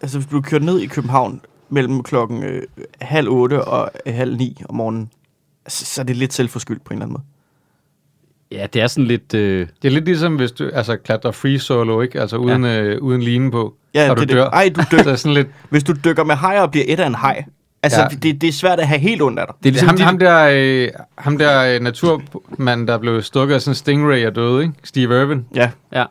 S3: altså, hvis du bliver kørt ned i København mellem klokken øh, halv otte og øh, halv ni om morgenen, så, så er det lidt selvforskyldt på en eller anden måde.
S1: Ja, det er sådan lidt... Øh,
S2: Det er lidt ligesom, hvis du altså, klatrer free solo, ikke? Altså uden, ja. øh, uden line på,
S3: Ja,
S2: og du
S3: det, er
S2: dør.
S3: Det. Ej, du
S2: Så
S3: dør.
S2: er sådan lidt,
S3: Hvis du dykker med hajer og bliver et af en haj, altså,
S2: Ja.
S3: ja. det, det er svært at have helt ondt af dig.
S1: det er ligesom
S2: ham,
S1: dit-
S2: ham, der, øh, ham der øh, naturmand, der blev stukket af sådan en stingray og døde, ikke? Steve Irwin.
S3: Ja,
S1: Ja.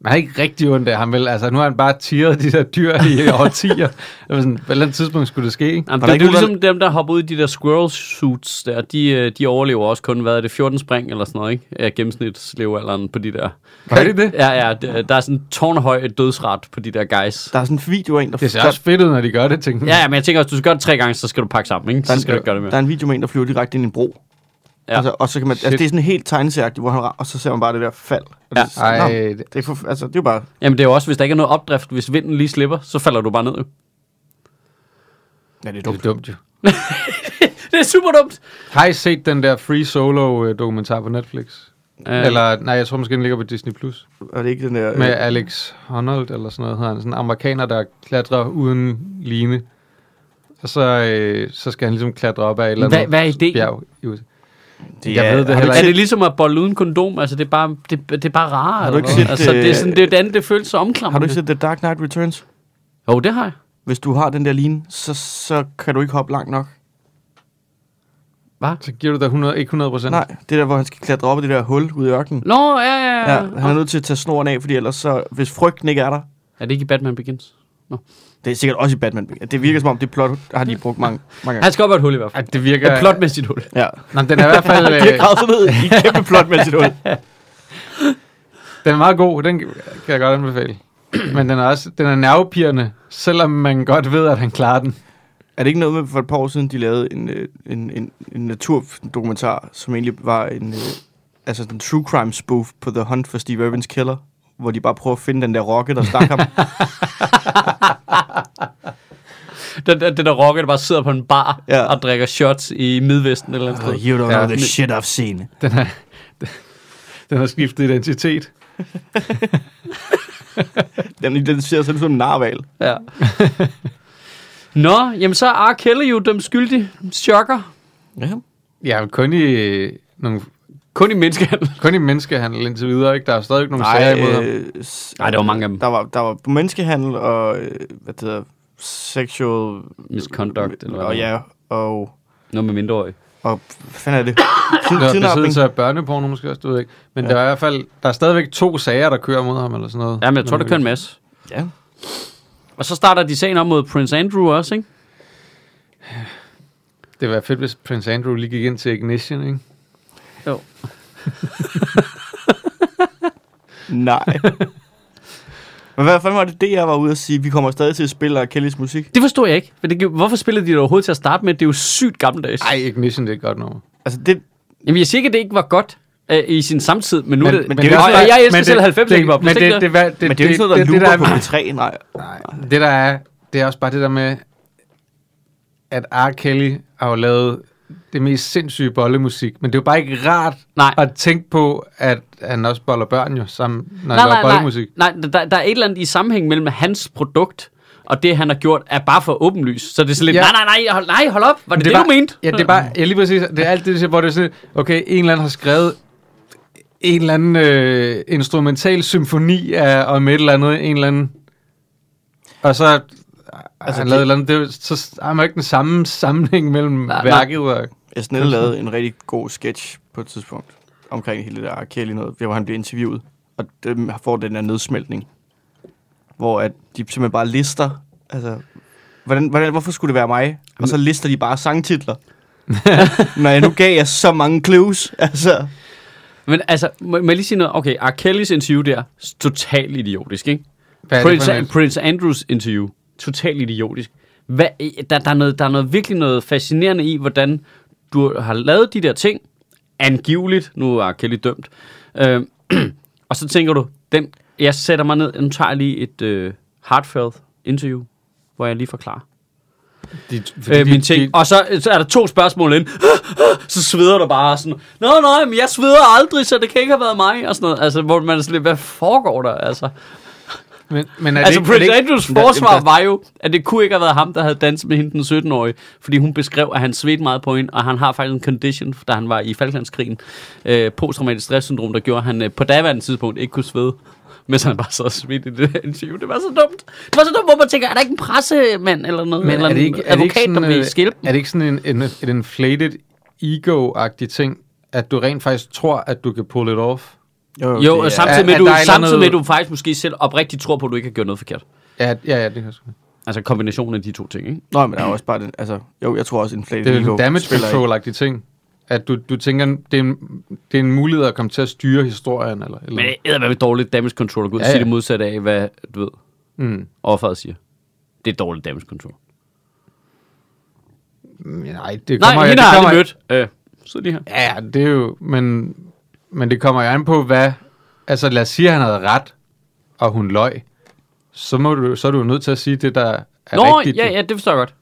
S2: Man har ikke rigtig ondt af ham, vel? Altså, nu har han bare tiret de der dyr i årtier. Det var sådan, på et eller andet tidspunkt skulle det ske, ikke?
S1: Jamen,
S3: der
S1: det, det er
S3: ikke
S1: jo
S3: nogen, der-
S1: ligesom dem, der hopper ud i de der squirrel suits der, de, øh, de overlever også kun, hvad er det, 14 spring eller sådan noget, ikke? Ja, gennemsnitslevealderen på de der.
S2: Var det det?
S1: Ja, ja, der, der er sådan en tårnhøj dødsret på de der guys.
S3: der er sådan en video af en, der,
S2: Det ser
S3: der,
S2: også fedt ud, når de gør det, tænker jeg.
S1: Ja, ja, men jeg tænker også, du skal gøre det tre gange, så skal du pakke sammen, ikke?
S3: Der er
S1: Så
S3: en-
S1: skal du ikke gøre det mere.
S3: der er en video med en, der flyver direkte ind i en bro.
S1: Ja.
S3: Ja. Altså, og så kan man, altså,
S2: Shit.
S3: det er sådan helt tegneserieagtigt, hvor han ra- og så ser man bare det der fald. Og
S1: Ja.
S3: Det,
S2: Ej,
S3: Ej,
S2: det-
S3: det, er for, altså, det er jo bare...
S1: Jamen det er jo også, hvis der ikke er noget opdrift, hvis vinden lige slipper, så falder du bare ned. jo.
S3: Ja, det er
S2: Det er dumt, jo.
S1: Det er super dumt.
S2: Har I set den der Free Solo-dokumentar på Netflix?
S1: Øh,
S2: Eller, nej, jeg tror måske, den ligger på Disney+. Plus.
S3: Er det ikke den der...
S2: Med
S3: øh,
S2: Alex Honnold, eller sådan noget hedder han. Sådan en amerikaner, der klatrer uden line. Og så, øh, så skal han ligesom klatre op af et eller
S1: Hvad-
S2: andet
S1: hvad er ideen?
S2: bjerg. i USA.
S3: det
S2: jeg
S3: er-
S2: ved det
S3: har du
S2: heller
S1: er
S2: ikke.
S1: det ligesom at bolle uden kondom? Altså, det er bare, det, det er bare rarere.
S3: Har du
S1: eller
S3: ikke
S1: hvad?
S3: set,
S1: altså, det, er
S3: øh,
S1: sådan, det er jo det andet, det føles så
S3: ikke- Har du
S1: omklamrende.
S3: ikke set The Dark Knight Returns?
S1: Jo, det har jeg.
S3: Hvis du har den der line, så, så kan du ikke hoppe langt nok.
S1: Hvad?
S2: Så giver du dig 100, ikke 100 procent.
S3: Nej, det der, hvor han skal klatre op i det der hul ude i ørkenen.
S1: Nå, ja, ja, ja.
S3: Ja, han er nødt til at tage snoren af, fordi ellers så, hvis frygten ikke er der,
S1: Er det ikke i Batman Begins?
S3: det er sikkert også i Batman. Det virker som om, det plot har de brugt mange, mange gange.
S1: Han skal op ad et hul i hvert fald.
S2: Ej, det virker...
S1: Et plotmæssigt hul.
S3: Ja.
S2: Nå, men den er i hvert fald...
S3: De har
S2: øh,
S3: gravet sig ned i et kæmpe plot med sit hul.
S2: den er meget god, den kan jeg godt anbefale. Men den er også den er nervepirrende, selvom man godt ved, at han klarer den.
S3: Er det ikke noget med, for et par år siden, de lavede en, øh, en, en, en naturdokumentar, som egentlig var en, øh, altså en true crime spoof på The Hunt for Steve Irvins Killer, hvor de bare prøver at finde den der rokke, der stak ham.
S1: Den, den, den der rocker, der bare sidder på en bar
S3: Ja.
S1: og drikker shots i Midvesten eller et eller andet sted.
S3: you don't
S2: know the
S3: shit I've seen.
S2: Den har, den har skiftet identitet.
S3: Den identificerer sig lidt som en narval.
S1: Ja. Nå, jamen så er R. Kelly jo dem skyldige. Chokker.
S3: Ja.
S2: Ja, men kun i, øh, nogle,
S1: Kun i menneskehandel.
S2: kun i menneskehandel indtil videre, ikke? Der er stadig nogle
S3: Nej,
S2: sager imod ham.
S3: øh, s-
S1: Nej, der var mange af dem.
S3: Der var, der var menneskehandel og, øh, hvad det hedder, sexual...
S1: Misconduct, eller hvad
S3: og,
S1: det
S3: ja, og,
S1: Noget med mindreårige.
S3: og hvad fanden er det?
S2: Nå,
S3: Kidnapning.
S2: besiddelse af børneporno måske også, du ved ikke. Men ja. der er i hvert fald, der er stadigvæk to sager, der kører mod ham eller sådan noget.
S1: Jamen, jeg tror, der kører en masse.
S3: Ja.
S1: Og så starter de sagen op mod Prince Andrew også, ikke?
S2: Det ville være fedt, hvis Prince Andrew lige gik ind til Ignition, ikke?
S1: Jo.
S3: Nej. Men hvad fanden var det, det jeg var ude at sige? Vi kommer stadig til at spille R. Kellys musik.
S1: Det forstod jeg ikke. For det, hvorfor spillede de det overhovedet til at starte med? Det er jo sygt gammeldags.
S2: Ej, Ignition, det er et godt nummer.
S3: Altså, det,
S1: Jamen, jeg siger ikke, at det ikke var godt øh, i sin samtid, men nu men, det,
S3: men
S1: men
S3: det
S1: det,
S3: er jo
S1: og
S3: også-
S1: jeg, jeg elsker
S2: Men
S1: selv
S2: det-
S1: 90
S2: det-
S1: det,
S2: Men det, det, det, det,
S3: men det er jo ikke sådan noget, der
S2: det,
S3: lurer på
S2: der,
S3: P3, nej.
S2: nej, det der er, det er også bare det der med, at R. Kelly har jo lavet det mest sindssyge bollemusik, men det er jo bare ikke rart
S1: Nej.
S2: at tænke på, at han også boller børn jo sammen, når
S1: nej,
S2: han laver
S1: nej, nej,
S2: bollemusik.
S1: nej der, der er et eller andet i sammenhæng mellem hans produkt og det, han har gjort, er bare for åbenlys. Så det er sådan lidt,
S2: Ja.
S1: ja. nej, nej, nej, hold, nej, hold op. Var det det,
S2: er
S1: det du
S2: bare-
S1: mente?
S2: Ja, det er bare, ja, lige præcis. Det er alt det, der- hvor det er sådan, okay, en eller anden har skrevet en eller anden øh, instrumental symfoni af, om et eller andet, en eller anden, og så altså, han
S3: det-
S2: lavet et eller andet, det, er jo- så har man ikke den samme sammenhæng mellem
S1: Nej, nej.
S2: værket og...
S3: SNL lavede en rigtig god sketch på et tidspunkt omkring hele det der R. Kelly noget, hvor han bliver interviewet, og det får den der nedsmeltning, hvor at de simpelthen bare lister, altså, hvordan, hvordan, hvorfor skulle det være mig? Og så lister de bare sangtitler. Når jeg nu gav jer så mange clues, altså.
S1: Men altså, må, må jeg lige sige noget? Okay, R. Kellys interview der, s- totalt idiotisk, ikke?
S2: Hvad er det for
S1: Prince,
S2: en-
S1: Prince Andrews interview, totalt idiotisk. Hvad, øh, der, der, er noget, der er noget, virkelig noget fascinerende i, hvordan du har lavet de der ting, angiveligt, nu er R. Kelly dømt, øh, og så tænker du, den, jeg sætter mig ned, nu tager jeg lige et øh, heartfelt interview, hvor jeg lige forklarer
S2: De,
S1: øh, mine ting. Og så, så er der to spørgsmål ind. så sveder du bare sådan, Nå, nej, men jeg sveder aldrig, så det kan ikke have været mig. Og sådan noget. Altså, hvor man er sådan lidt, hvad foregår der? Altså,
S2: men, men er det
S1: altså
S2: ikke, er det
S1: Prince
S2: ikke,
S1: Andrews
S3: der-
S1: forsvar
S3: der-
S1: var jo, at det kunne ikke have været ham, der havde danset med hende den 17-årige, fordi hun beskrev, at han svedte meget på hende, og han har faktisk en condition, da han var i Falklandskrigen, øh, posttraumatisk stresssyndrom, der gjorde, at han øh, på daværende tidspunkt ikke kunne svede. Mens han bare så og svedte i det der interview. Det var så dumt. Det var så dumt, hvor man tænker, er der ikke en pressemand eller noget?
S2: men
S1: eller
S2: er det
S1: en
S2: ikke, er det
S1: advokat,
S2: ikke sådan,
S1: der vil
S2: øh,
S1: skælpe
S2: er det ikke sådan en, en, en inflated ego-agtig ting, at du rent faktisk tror, at du kan pull it off?
S1: Jo,
S3: det
S1: og
S3: er-
S1: samtidig,
S2: Er-
S1: med,
S2: er
S1: du,
S2: der et eller
S1: samtidig med, at
S2: andet-
S1: du faktisk måske selv oprigtigt tror på, at du ikke har gjort noget forkert.
S2: Ja, ja, ja det kan jeg sgu.
S1: Altså kombinationen af de to ting,
S2: Mm.
S1: ikke?
S3: Nå, men der er også bare den, altså, jo, jeg tror også, inflated
S2: Det er jo
S3: ego
S2: en damage
S3: spiller i.
S2: control-agtig ting. At du, du tænker, det er, en, det er en mulighed at komme til at styre historien. Eller, eller.
S1: Men det er med dårligt damage control at gå ud og
S2: Ja,
S1: sige
S2: ja.
S1: det modsatte af, hvad du ved,
S2: Mm.
S1: offeret siger. Det er dårligt damage control.
S2: Nej, det kommer
S1: Nej, hende
S2: det
S1: har jeg
S2: kommer-
S1: aldrig mødt. Øh, så de her.
S2: Ja, ja, det er jo... Men, men det kommer jo an på, hvad... Altså, lad os sige, at han havde ret, og hun løg. Så, må du, så er du jo nødt til at sige det, der er
S1: Nå,
S2: rigtigt.
S1: ja, ja, det forstår jeg godt.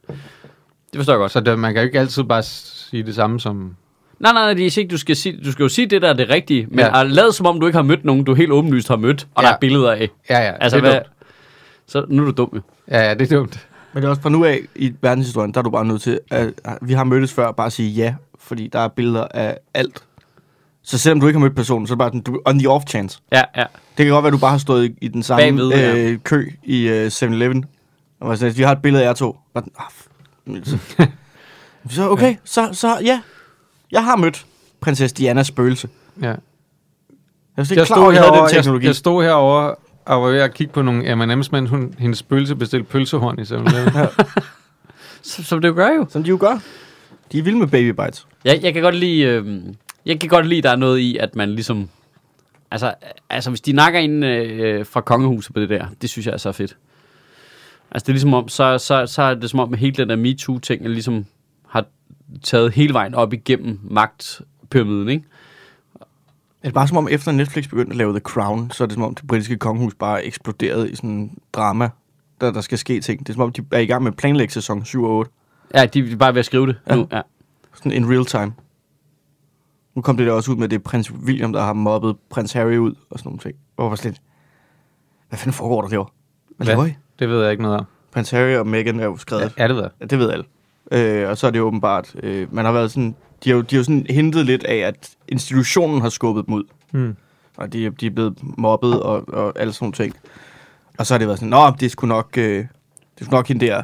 S1: Det forstår jeg godt.
S2: Så der, man kan jo ikke altid bare sige det samme som...
S1: Nej, nej, nej, det er ikke, du skal, sige, du skal jo sige det, der er det rigtige, men
S2: Ja.
S1: ja. lad som om, du ikke har mødt nogen, du helt åbenlyst har mødt, og
S2: Ja.
S1: der er billeder af.
S2: Ja, ja,
S1: Altså,
S2: det er
S1: hvad,
S2: dumt.
S1: så nu er du dum, jo.
S2: Ja, ja, det er dumt.
S3: Men det er også fra nu af i verdenshistorien, der er du bare nødt til, at vi har mødtes før, bare at sige ja, fordi der er billeder af alt. Så selvom du ikke har mødt personen, så er det bare den, du, on the off chance.
S1: Ja, ja.
S3: Det kan godt være, at du bare har stået i, i den samme
S1: Bagved, ja.
S3: øh, kø i øh, 7-Eleven. Og var sådan, altså. at vi har et billede af jer to. Og den, ah, f- så, så okay, så, så ja. Jeg har mødt prinsesse Dianas spøgelse.
S2: Ja.
S3: Jeg er
S2: Jeg
S3: ikke klar over,
S2: stod,
S3: at jeg havde den
S2: herovre, jeg,
S3: teknologi.
S2: jeg stod herovre og var ved at kigge på nogle M&M's, men hun, hendes spølse bestilte pølsehorn i 7
S1: Som, som det jo gør jo.
S3: Som de jo gør. De er vilde med baby bites.
S1: Jeg, jeg kan godt lide, øh, jeg kan godt lide, der er noget i, at man ligesom... Altså, altså hvis de nakker en øh, fra kongehuset på det der, det synes jeg er så fedt. Altså, det er ligesom om, så, så, så er det som om, at hele den der MeToo-ting, er ligesom har taget hele vejen op igennem magtpyramiden, ikke?
S3: Det er bare som om, efter Netflix begyndte at lave The Crown, så er det som om, det britiske kongehus bare eksploderede i sådan en drama, der, der skal ske ting. Det er som om, de er i gang med at planlægge sæson 7 og 8.
S1: Ja, de er bare ved at skrive det ja. nu. Ja.
S3: Sådan in real time. Nu kom det der også ud med, at det er prins William, der har mobbet prins Harry ud og sådan nogle ting. Hvor var slet, hvad fanden foregår der derovre? Hvad laver I?
S2: Det ved jeg ikke noget om.
S3: Prins Harry og Meghan er jo skrevet.
S2: Ja, det ved jeg.
S3: Ja, det ved alle. Øh, og så er det åbenbart, øh, man har været sådan, de har, jo- de har jo sådan hentet lidt af, at institutionen har skubbet dem ud.
S2: Mm.
S3: Og de, de er blevet mobbet og, og alle sådan nogle ting. Og så har det været sådan, nå, det skulle nok, øh, det skulle nok hende der,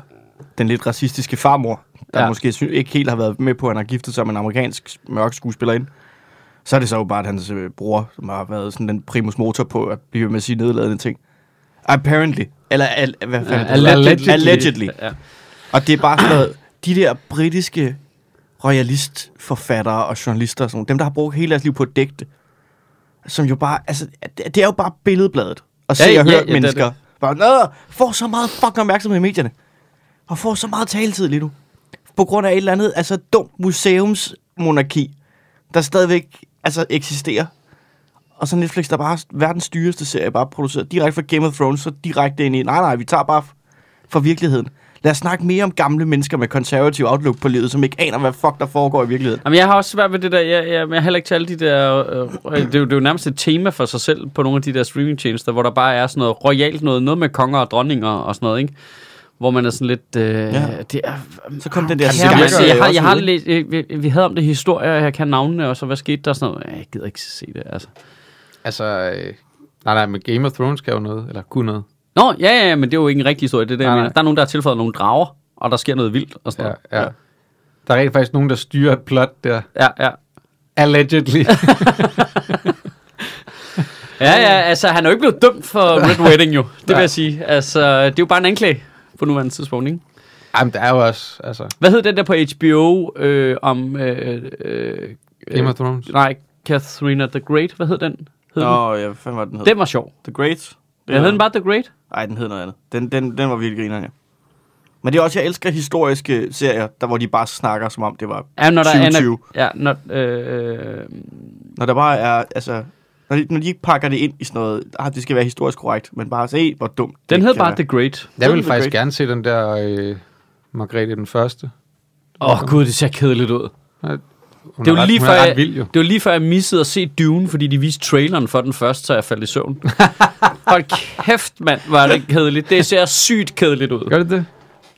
S3: den lidt racistiske farmor, der
S1: Ja.
S3: ja. måske sy- ikke helt har været med på, at han har giftet sig med en amerikansk mørk skuespillerinde. Så er det så jo bare at hans øh, bror, som har været sådan den primus motor på at blive ved med at sige nedladende ting. Apparently. Eller, al, hvad fanden?
S2: Ja, allegedly.
S3: allegedly.
S1: Ja.
S3: Og det er bare sådan noget, de der britiske royalistforfattere og journalister, og sådan, nogle, dem der har brugt hele deres liv på at digte, som jo bare, altså, at det det er jo bare billedbladet. Og se
S1: Ja,
S3: ja,
S1: ja,
S3: og høre
S1: ja, det er
S3: mennesker. Det. Bare, Nå, får så meget fucking opmærksomhed i medierne. Og får så meget taletid lige nu. På grund af et eller andet, altså dumt museumsmonarki, der stadigvæk altså, eksisterer. Og så Netflix, der bare har verdens dyreste serie, bare produceret direkte fra Game of Thrones, så direkte ind i, nej nej, vi tager bare f- fra virkeligheden. Lad os snakke mere om gamle mennesker med konservativ outlook på livet, som ikke aner, hvad fuck der foregår i virkeligheden.
S1: Jamen, jeg har også svært ved det der, jeg, jeg, jeg er heller ikke til alle de der, øh, øh, det, er jo, det er jo nærmest et tema for sig selv på nogle af de der streamingtjenester, hvor der bare er sådan noget royalt noget, noget med konger og dronninger og sådan noget, ikke? Hvor man er sådan lidt, øh, ja. det er...
S3: Så kom den
S1: Kan
S3: der
S1: jeg, altså, jeg,
S3: også
S1: har, jeg har
S3: ud, ikke?
S1: læst, øh, vi, vi havde om det historie, og jeg kan navnene, og så hvad skete der og sådan noget. Ja, Jeg gider ikke se det, altså.
S2: Altså, øh, nej, nej, men Game of Thrones kan jo noget, eller kunne noget.
S1: Nå, ja, ja, ja, men det er jo ikke en rigtig historie, det er det, jeg
S2: Nej,
S1: mener.
S2: nej.
S1: Der er nogen, der har tilføjet nogle drager, og der sker noget vildt og sådan
S2: Ja,
S1: noget.
S2: ja. Der er rent faktisk nogen, der styrer et plot der.
S1: Ja, ja.
S2: Allegedly.
S1: Ja, ja, altså, han er jo ikke blevet dømt for Red Wedding, jo. Det vil
S2: Nej.
S1: jeg sige. Altså, det er jo bare en anklage på nuværende tidspunkt, ikke?
S2: Jamen, der er jo også, altså,
S1: Hvad hed den der på HBO øh, om... Øh, øh,
S2: Game
S1: øh,
S2: of Thrones.
S1: Nej, Katharina the Great. Hvad hed den? Hed den?
S3: Nå, ja, hvad fanden var den hed?
S1: den var sjov.
S3: The Great?
S1: Ja, hed den bare The Great?
S3: Nej, den hed noget andet. Den, den, den var virkelig grineren, ja. Men det er også, jeg elsker historiske serier, der hvor de bare snakker, som om det var...
S1: Ja, når der er
S3: 2020.
S1: en, ja, når, øh, øh,
S3: Når der bare er, altså... Når de, når de ikke pakker det ind i sådan noget, ah, det skal være historisk korrekt, men bare se, hvor dumt
S1: den
S3: det
S1: hed
S3: kan
S1: bare
S3: være.
S1: The Great.
S2: Jeg
S3: Den
S2: vil
S3: er
S2: faktisk
S3: great.
S2: gerne se den der øh, Margrethe den Første.
S1: Åh oh, gud, det ser kedeligt ud.
S2: Hun
S1: Det er,
S2: er
S1: jo
S2: ret-
S1: lige
S2: hun
S1: før,
S2: er
S1: jeg,
S2: ret vild, jo.
S1: det var lige før, jeg missede at se Dune, fordi de viste traileren for den først, så jeg faldt i søvn. Hold kæft, mand, var det kedeligt. Det ser sygt kedeligt ud.
S2: Gør det det?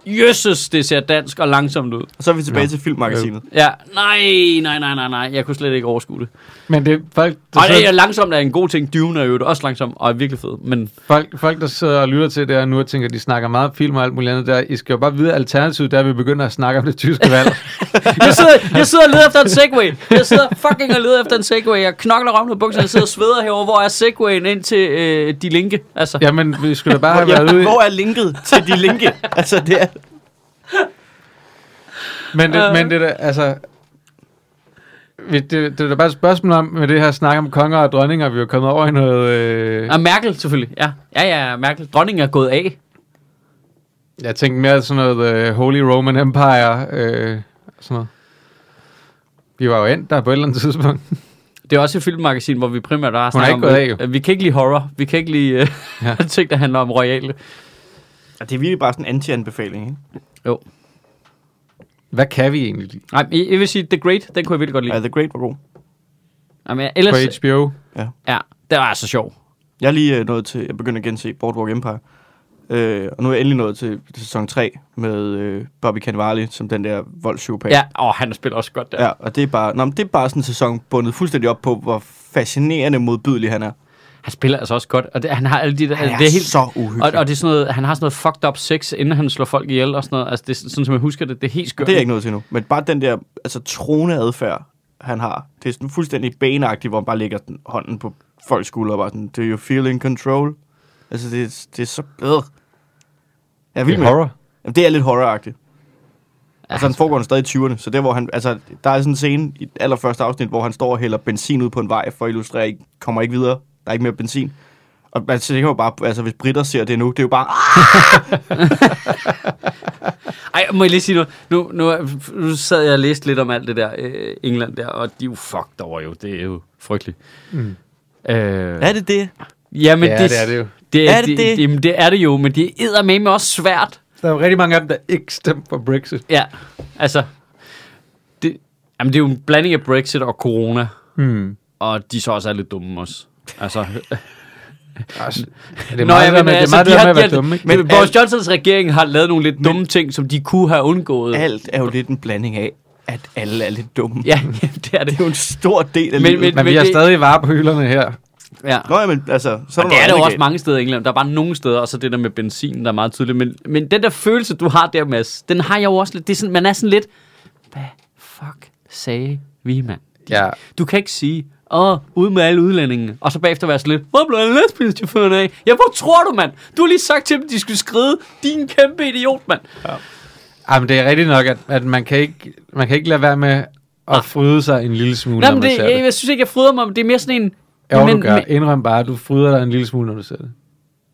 S1: Jesus, det ser dansk og langsomt ud.
S3: Og så er vi tilbage ja. Øh. til filmmagasinet.
S1: Ja, nej, nej, nej, nej, nej. Jeg kunne slet ikke overskue det.
S2: Men det er folk, der,
S1: Og det er
S2: sidder,
S1: langsomt er en god ting. Dune er jo også langsom og er virkelig fed. Men
S2: folk, folk, der sidder og lytter til det her nu og tænker, at de snakker meget om film og alt muligt andet der. I skal jo bare vide, at alternativet der, vi begynder at snakke om det tyske valg.
S1: jeg sidder, jeg sidder og leder efter en Segway. Jeg sidder fucking og leder efter en Segway. Jeg knokler om på bukserne, jeg sidder og sveder herover. Hvor er Segwayen ind til øh, de linke? Altså, ja.
S2: Jamen, vi skulle da bare have været
S3: Hvor,
S2: ude.
S3: ja, hvor er linket til de linke? altså, det er...
S2: Men det, men det der, altså... vi- Det, det er da bare et spørgsmål om, med det her snak om konger og dronninger, vi er jo kommet over i noget... Øh,
S1: Og Merkel selvfølgelig. Ja, ja, ja Merkel. Dronningen er gået af.
S2: jeg tænkte mere sådan noget øh, Holy Roman Empire, øh, sådan noget. Vi var jo endt der på et eller andet tidspunkt.
S1: Det er også et filmmagasin, hvor vi primært har
S2: Hun er
S1: snakket
S2: ikke gået
S1: om... øh, Vi kan ikke lide horror. Vi kan ikke lide øh,
S2: Ja.
S1: ja. ting, der handler om royale.
S3: Ja, det er virkelig bare sådan en anti-anbefaling, ikke?
S1: Jo.
S2: Hvad kan vi egentlig lide?
S1: Nej, jeg jeg vil sige, The Great, den kunne jeg virkelig godt
S3: Ja,
S1: lide.
S3: The Great var god.
S1: Jamen, jeg- ellers,
S2: På HBO?
S1: ja, det var altså sjov.
S3: Jeg er lige øh, nået til, jeg begynder at gense Boardwalk Empire. Øh, og nu er jeg endelig nået til sæson 3 med øh, Bobby Cannavale som den der voldspsykopat.
S1: Ja, og han spiller også godt der.
S3: Ja, og det er bare, nå, men det er bare sådan en sæson bundet fuldstændig op på, hvor fascinerende modbydelig han er.
S1: Han spiller altså også godt, og det, han har alle de der...
S3: Han er,
S1: det er helt,
S3: så uhyggelig.
S1: og, og, det er sådan noget, han har sådan noget fucked up sex, inden han slår folk ihjel og sådan noget. Altså, det er sådan, som jeg husker det, det er helt skørt.
S3: det er jeg ikke noget til nu. Men bare den der altså, troende adfærd, han har. Det er sådan fuldstændig baneagtigt, hvor han bare lægger den, hånden på folks skuldre og bare sådan, do you feel in control? Altså, det, er- det er så... Øh. Jeg er vild
S2: Det
S3: med
S2: er
S3: det.
S2: horror.
S3: Jamen, det er lidt horroragtigt. Altså, han
S1: altså,
S3: foregår den stadig i 20'erne, så der, hvor han, altså, der er sådan en scene i det allerførste afsnit, hvor han står og hælder benzin ud på en vej for at illustrere, at kommer ikke videre, der er ikke mere benzin. Og man tænker jo bare, altså hvis britter ser det nu, det er jo bare, "Ah,
S1: ej, må jeg lige sige noget? Nu, nu, nu sad jeg og læste lidt om alt det der øh, England der, og de er jo fucked over jo. Det er jo frygteligt.
S2: Mm.
S1: Øh,
S3: er det det?
S1: ja, men
S2: Ja,
S1: det,
S2: det er det jo.
S1: Det,
S3: Er det
S1: det,
S3: det?
S1: det? Jamen, det er det jo, men det er med også svært.
S2: Der er jo rigtig mange af dem, der ikke stemte for Brexit.
S1: Ja, altså... Det, jamen, det er jo en blanding af Brexit og corona,
S2: Hmm.
S1: og de så også er lidt dumme også. Altså,
S2: Altså, det
S1: Nå,
S2: er meget
S1: ja,
S2: det der
S1: men
S2: med, det er
S1: altså,
S2: meget
S1: de
S2: det der
S1: har- de
S2: med at være
S1: har-
S2: dumme, ikke?
S1: Men
S3: Men
S1: Boris
S3: alt-
S1: Johnsons regering har lavet nogle lidt dumme ting, som de kunne have undgået.
S3: Alt er jo lidt en blanding af, at alle er lidt dumme.
S1: Ja, det er det.
S3: Det er jo en stor del af
S1: Men-
S3: livet.
S1: men-
S2: Men vi har
S1: det-
S2: stadig varer på hylderne her.
S1: Ja.
S3: Nå, ja, men altså, så er
S1: Og det
S3: der noget
S1: er der jo
S3: andet
S1: også
S3: galt.
S1: mange steder i England. Der er bare nogle steder, og så det der med benzin, der er meget tydeligt. Men, men den der følelse, du har der, Mads, den har jeg jo også lidt. Det er sådan, man er sådan lidt, hvad fuck sagde vi, mand?
S2: Ja.
S1: Du kan ikke sige, åh, ud med alle udlændingene. Og så bagefter være sådan lidt, hvor blev alle lastbilschaufførerne af? Ja, hvor tror du, mand? Du har lige sagt til dem, de skulle skride. Din kæmpe idiot, mand.
S2: Jamen, det er rigtigt nok, at, at man, kan ikke, man kan ikke lade være med at fryde sig en lille smule,
S1: Nå,
S2: når
S1: men
S2: man
S1: det,
S2: ser Ah. det.
S1: jeg, jeg synes ikke, jeg fryder mig, men det er mere sådan en...
S2: Jo,
S1: men,
S2: du gør.
S1: men-
S2: Indrøm bare, at du fryder dig en lille smule, når du ser det.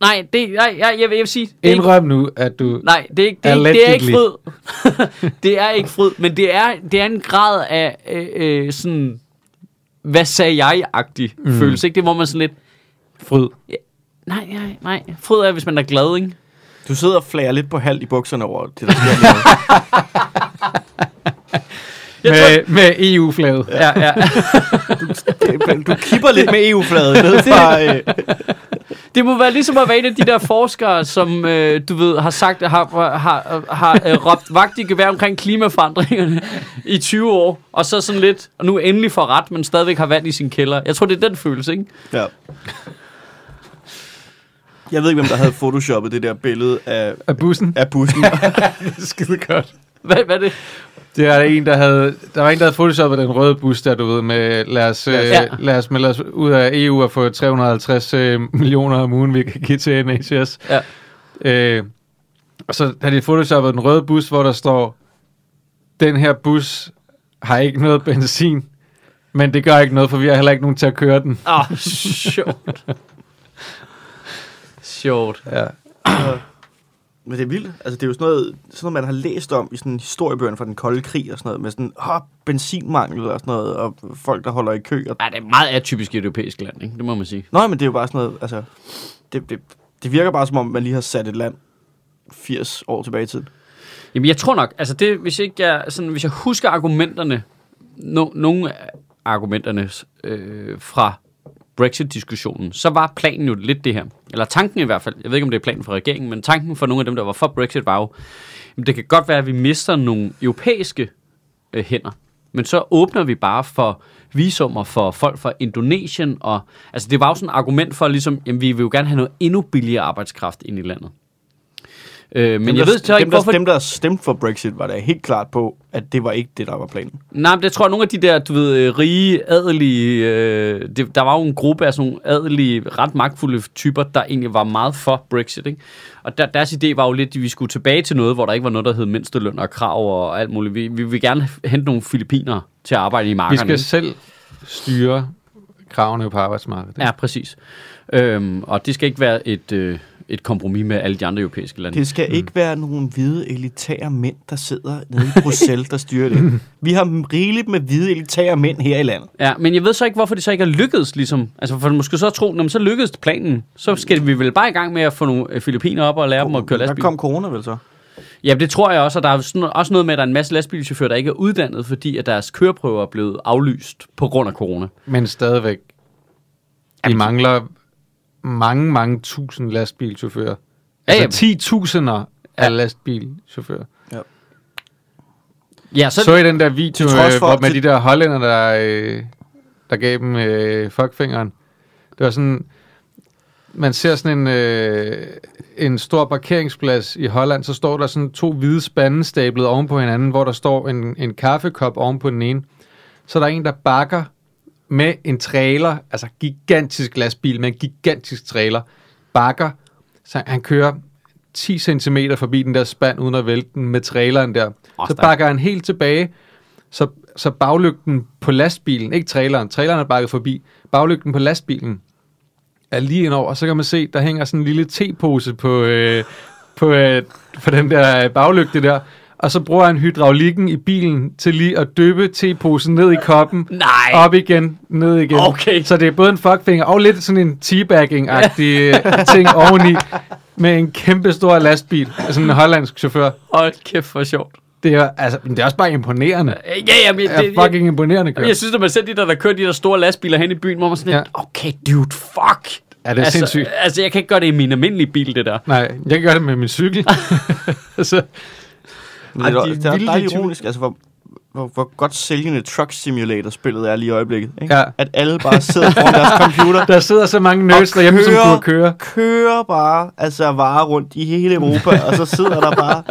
S1: nej, det, nej, jeg, jeg, vil, jeg vil sige... Det er ikke,
S2: Indrøm nu, at du...
S1: nej, det er ikke, det er ikke, det er ikke
S2: Allegedly.
S1: fryd. det er ikke fryd, men det er, det er en grad af øh, øh, sådan... Hvad sagde jeg-agtig mm. følelse, ikke? Det er, hvor man sådan lidt...
S2: Fryd.
S1: Nej, nej, nej. Fryd er, hvis man er glad, ikke?
S3: Du sidder og flager lidt på halvt i bukserne over det, der sker lige nu.
S1: Jeg
S2: Med, med E EU-flaget.
S1: Ja, ja.
S3: Det- Du kipper lidt med EU-fladet ned fra... Øh,
S1: Det må være ligesom at være en af de der forskere, som øh, du ved, har sagt, har, har, har øh, råbt vagt i gevær omkring klimaforandringerne i 20 år, og så sådan lidt, og nu endelig får ret, men stadigvæk har vand i sin kælder. Jeg tror, det er den følelse, ikke?
S3: Ja. Jeg ved ikke, hvem der havde photoshoppet det der billede af,
S2: Af bussen.
S3: af bussen.
S2: Det er skide godt.
S1: Hvad, hvad er det?
S2: Det var der en, der havde, der var en, der havde photoshoppet den røde bus, der du ved, med lad os, ja.
S1: Ja.
S2: øh, lad os melde os ud af EU og få 350 øh, millioner om ugen, vi kan give til NHS.
S1: Ja.
S2: Øh, og så har de photoshoppet den røde bus, hvor der står, den her bus har ikke noget benzin, men det gør ikke noget, for vi har heller ikke nogen til at køre den.
S1: Åh, oh, sjovt. Sjovt.
S2: Ja.
S3: Men det er vildt. Altså, det er jo sådan noget, sådan noget, man har læst om i sådan historiebøgerne fra den kolde krig og sådan noget, med sådan, åh, benzinmangel og sådan noget, og folk, der holder i kø. Og...
S1: Ej, det er et meget atypisk europæisk land, ikke? Det må man sige.
S3: Nå, men det er jo bare sådan noget, altså, det, det, det virker bare som om, man lige har sat et land 80 år tilbage i tiden.
S1: Jamen, jeg tror nok, altså det, hvis, ikke jeg, sådan, hvis jeg husker argumenterne, no, nogle af argumenterne øh, fra Brexit-diskussionen, så var planen jo lidt det her. Eller tanken i hvert fald. Jeg ved ikke, om det er planen fra regeringen, men tanken for nogle af dem, der var for Brexit, var jo, jamen, det kan godt være, at vi mister nogle europæiske øh, hænder. Men så åbner vi bare for visummer for folk fra Indonesien. Og, altså det var jo sådan et argument for, ligesom, jamen, vi vil jo gerne have noget endnu billigere arbejdskraft ind i landet. Øh, men
S3: dem,
S1: jeg
S3: der,
S1: ved så ikke,
S3: dem,
S1: hvorfor...
S3: der, dem, der stemte for Brexit, var da helt klart på, at det var ikke det, der var planen.
S1: Nej, men det tror jeg, nogle af de der, du ved, øh, rige, adelige... Øh, det, der var jo en gruppe af sådan nogle adelige, ret magtfulde typer, der egentlig var meget for Brexit, ikke? Og der, deres idé var jo lidt, at vi skulle tilbage til noget, hvor der ikke var noget, der hed mindsteløn og krav og alt muligt. Vi, vi vil gerne hente nogle filippiner til at arbejde i
S2: Vi
S1: markerne.
S2: skal
S1: ikke?
S2: selv styre kravene på arbejdsmarkedet.
S1: Ja, præcis. Øhm, og det skal ikke være et, øh, et kompromis med alle de andre europæiske lande.
S3: Det skal mm. ikke være nogle hvide elitære mænd, der sidder nede i Bruxelles, der styrer det. Vi har rigeligt med hvide elitære mænd her i landet.
S1: Ja, men jeg ved så ikke, hvorfor det så ikke er lykkedes, ligesom. Altså, for måske så tro, når så lykkedes planen, så skal vi vel bare i gang med at få nogle øh, filippiner op og lære dem at køre
S3: der
S1: lastbil.
S3: kom corona vel så?
S1: Ja, det tror jeg også, og der er sådan, også noget med, at der er en masse lastbilchauffører, der ikke er uddannet, fordi at deres køreprøver er blevet aflyst på grund af corona.
S2: Men stadigvæk. Vi mangler mange, mange tusind lastbilchauffører. Altså
S1: jamen.
S2: 10.000'er af lastbilchauffører.
S1: Ja, så,
S2: Så I den der video
S3: Til trods
S2: øh,
S3: for-
S2: hvor med
S3: til-
S2: de der hollænder, der, øh, der gav dem øh, fuckfingeren? Det var sådan... Man ser sådan en, øh, en stor parkeringsplads i Holland, så står der sådan to hvide spande stablet oven på hinanden, hvor der står en, en kaffekop oven på den ene. så er der en, der bakker med en trailer, altså gigantisk lastbil med en gigantisk trailer, bakker, så han kører 10 cm forbi den der spand, uden at vælte den med traileren der. så
S1: stærkt.
S2: bakker han helt tilbage, så, så baglygten på lastbilen, ikke traileren, traileren er bakket forbi, baglygten på lastbilen er lige indover, og så kan man se, der hænger sådan en lille tepose på, øh, på, øh, på den der øh, baglygte der, og så bruger han hydraulikken i bilen til lige at dyppe teposen ned i koppen,
S1: Nej.
S2: op igen, ned igen.
S1: Okay.
S2: Så det er både en fuckfinger og lidt sådan en teabagging-agtig øh, ting oveni, med en kæmpe stor lastbil, altså en hollandsk chauffør.
S1: Hold kæft, for sjovt.
S2: Det er, altså, men det er også bare imponerende. Det
S1: Ja, ja, men det,
S2: er
S1: jeg,
S2: fucking imponerende kørt.
S1: jeg, jeg synes, at man selv de der, der kører de der store lastbiler hen i byen, hvor man sådan
S2: Ja.
S1: ja. okay, dude, fuck.
S2: Ja, det er
S1: altså,
S2: sindssygt.
S1: Altså, jeg kan ikke gøre det i min almindelige bil, det der.
S2: Nej, jeg gør det med min cykel. så,
S3: Men det, er,
S2: Ej, de
S3: det er også
S2: vilde
S3: dejligt
S2: typer.
S3: ironisk, altså hvor, hvor, hvor godt sælgende Truck Simulator-spillet er lige i øjeblikket. Ikke?
S2: Ja.
S3: At alle bare sidder foran deres computer
S2: der sidder så mange nerds
S3: og
S2: derhjemme, som kunne køre.
S3: kører bare altså varer rundt i hele Europa, og så sidder der bare...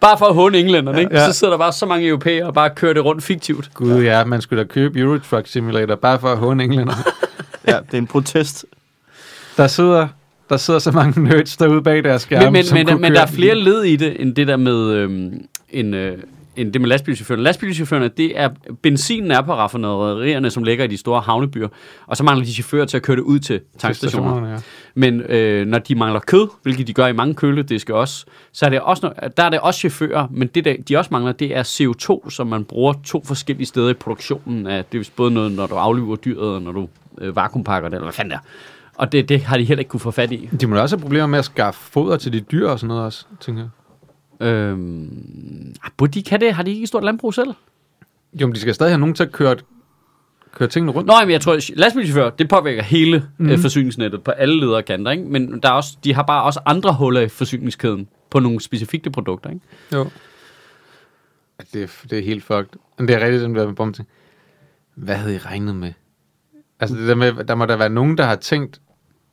S1: Bare for at håne englænderne, ikke?
S2: Ja.
S1: Ja. Så sidder der bare så mange europæere og bare kører det rundt fiktivt.
S2: Gud ja, man skulle da købe Euro Truck Simulator, bare for at håne englænder.
S3: Ja, det er en protest.
S2: Der sidder, der sidder så mange nerds derude bag deres skærme,
S1: men, men,
S2: som
S1: men,
S2: kunne
S1: men
S2: køre
S1: der er flere
S2: bil.
S1: led i det, end det der med, øhm, en, øh, end det med lastbilchaufførerne. Lastbilchaufførerne, det er, benzinen er på raffinaderierne, som ligger i de store havnebyer, og så mangler de chauffører til at køre det ud til tankstationerne.
S2: ja.
S1: Men øh, når de mangler kød, hvilket de gør i mange kølediske også, så er det også, no- der er det også chauffører, men det der, de også mangler, det er CO2, som man bruger to forskellige steder i produktionen af. Det er vist både noget, når du aflyver dyret, og når du øh, vakuumpakker det, eller hvad fanden der. Og det, det har de heller ikke kunne få fat i.
S2: De må da også have problemer med at skaffe foder til de dyr og sådan noget også, tænker jeg.
S1: Øhm, ah, burde de kan det? Har de ikke et stort landbrug selv?
S2: Jo, men de skal stadig have nogen til at køre, køre tingene rundt.
S1: Nå, men jeg tror, at lastbilchauffør, det påvirker hele mm. øh, forsyningsnettet på alle ledere og kanter, ikke? Men der er også, de har bare også andre huller i forsyningskæden på nogle specifikke produkter, ikke?
S2: Jo. Ja, Det er, det er helt fucked. Men det er rigtigt, den der med bomben. Hvad havde I regnet med? Altså det der med, der må der være nogen, der har tænkt,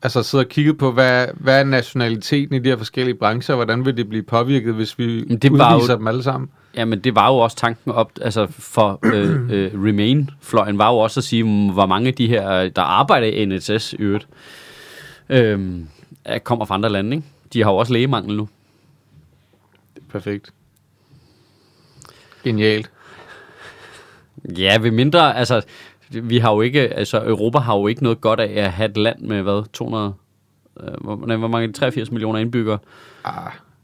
S2: altså sidder og kigget på, hvad, hvad er nationaliteten i de her forskellige brancher, og hvordan vil det blive påvirket, hvis vi
S1: Men
S2: det
S1: det var jo-
S2: udviser dem alle sammen?
S1: Jamen, det var jo også tanken op, altså for øh, øh, Remain-fløjen var jo også at sige, mm, hvor mange af de her, der arbejder i NHS i øvrigt, øh, kommer fra andre lande, ikke? De har jo også lægemangel nu.
S2: Perfekt. Genialt.
S1: Ja, ved mindre, altså, vi har jo ikke, altså, Europa har jo ikke noget godt af at have et land med, hvad, 200, øh, hvor, nej, hvor mange, er det? 83 millioner indbyggere,
S2: Ah,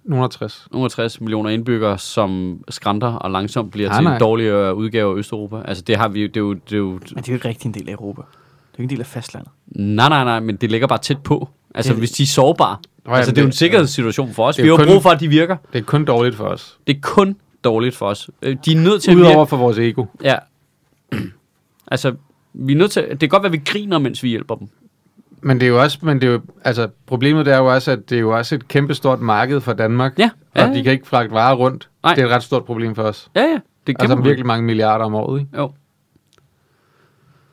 S2: 160.
S1: 160 millioner indbyggere, som skrænter og langsomt bliver
S2: Nej,
S1: til
S2: nej.
S1: en dårligere udgave af Østeuropa. Altså, det har vi jo, det er jo, det er jo,
S3: Men det er jo ikke rigtig en del af Europa. Det er jo ikke en del af fastlandet.
S1: nej, nej, nej, men det ligger bare tæt på. Altså,
S3: Det-
S1: hvis de er sårbare.
S2: Nå ja,
S1: altså,
S2: men
S1: det er jo en
S2: det-
S1: sikkerhedssituation for os.
S2: det er
S1: Vi
S2: jo
S1: har jo
S2: kun-
S1: brug for, at de virker.
S2: Det er kun dårligt for os.
S1: Det er kun dårligt for os. Øh, De er nødt til at virke.
S2: Udover for vores ego.
S1: Ja. Altså, vi er nødt til, det kan godt være, at vi griner, mens vi hjælper dem.
S2: Men det er jo også, men det er jo, altså problemet det er jo også, at det er jo også et kæmpestort marked for Danmark.
S1: Ja,
S2: Og
S1: ja,
S2: de
S1: ja.
S2: kan ikke fragte varer rundt.
S1: Nej.
S2: Det er et ret stort problem for os.
S1: Ja, ja. Det kan
S2: Altså
S1: man
S2: virkelig mange milliarder om året, ikke?
S1: Jo.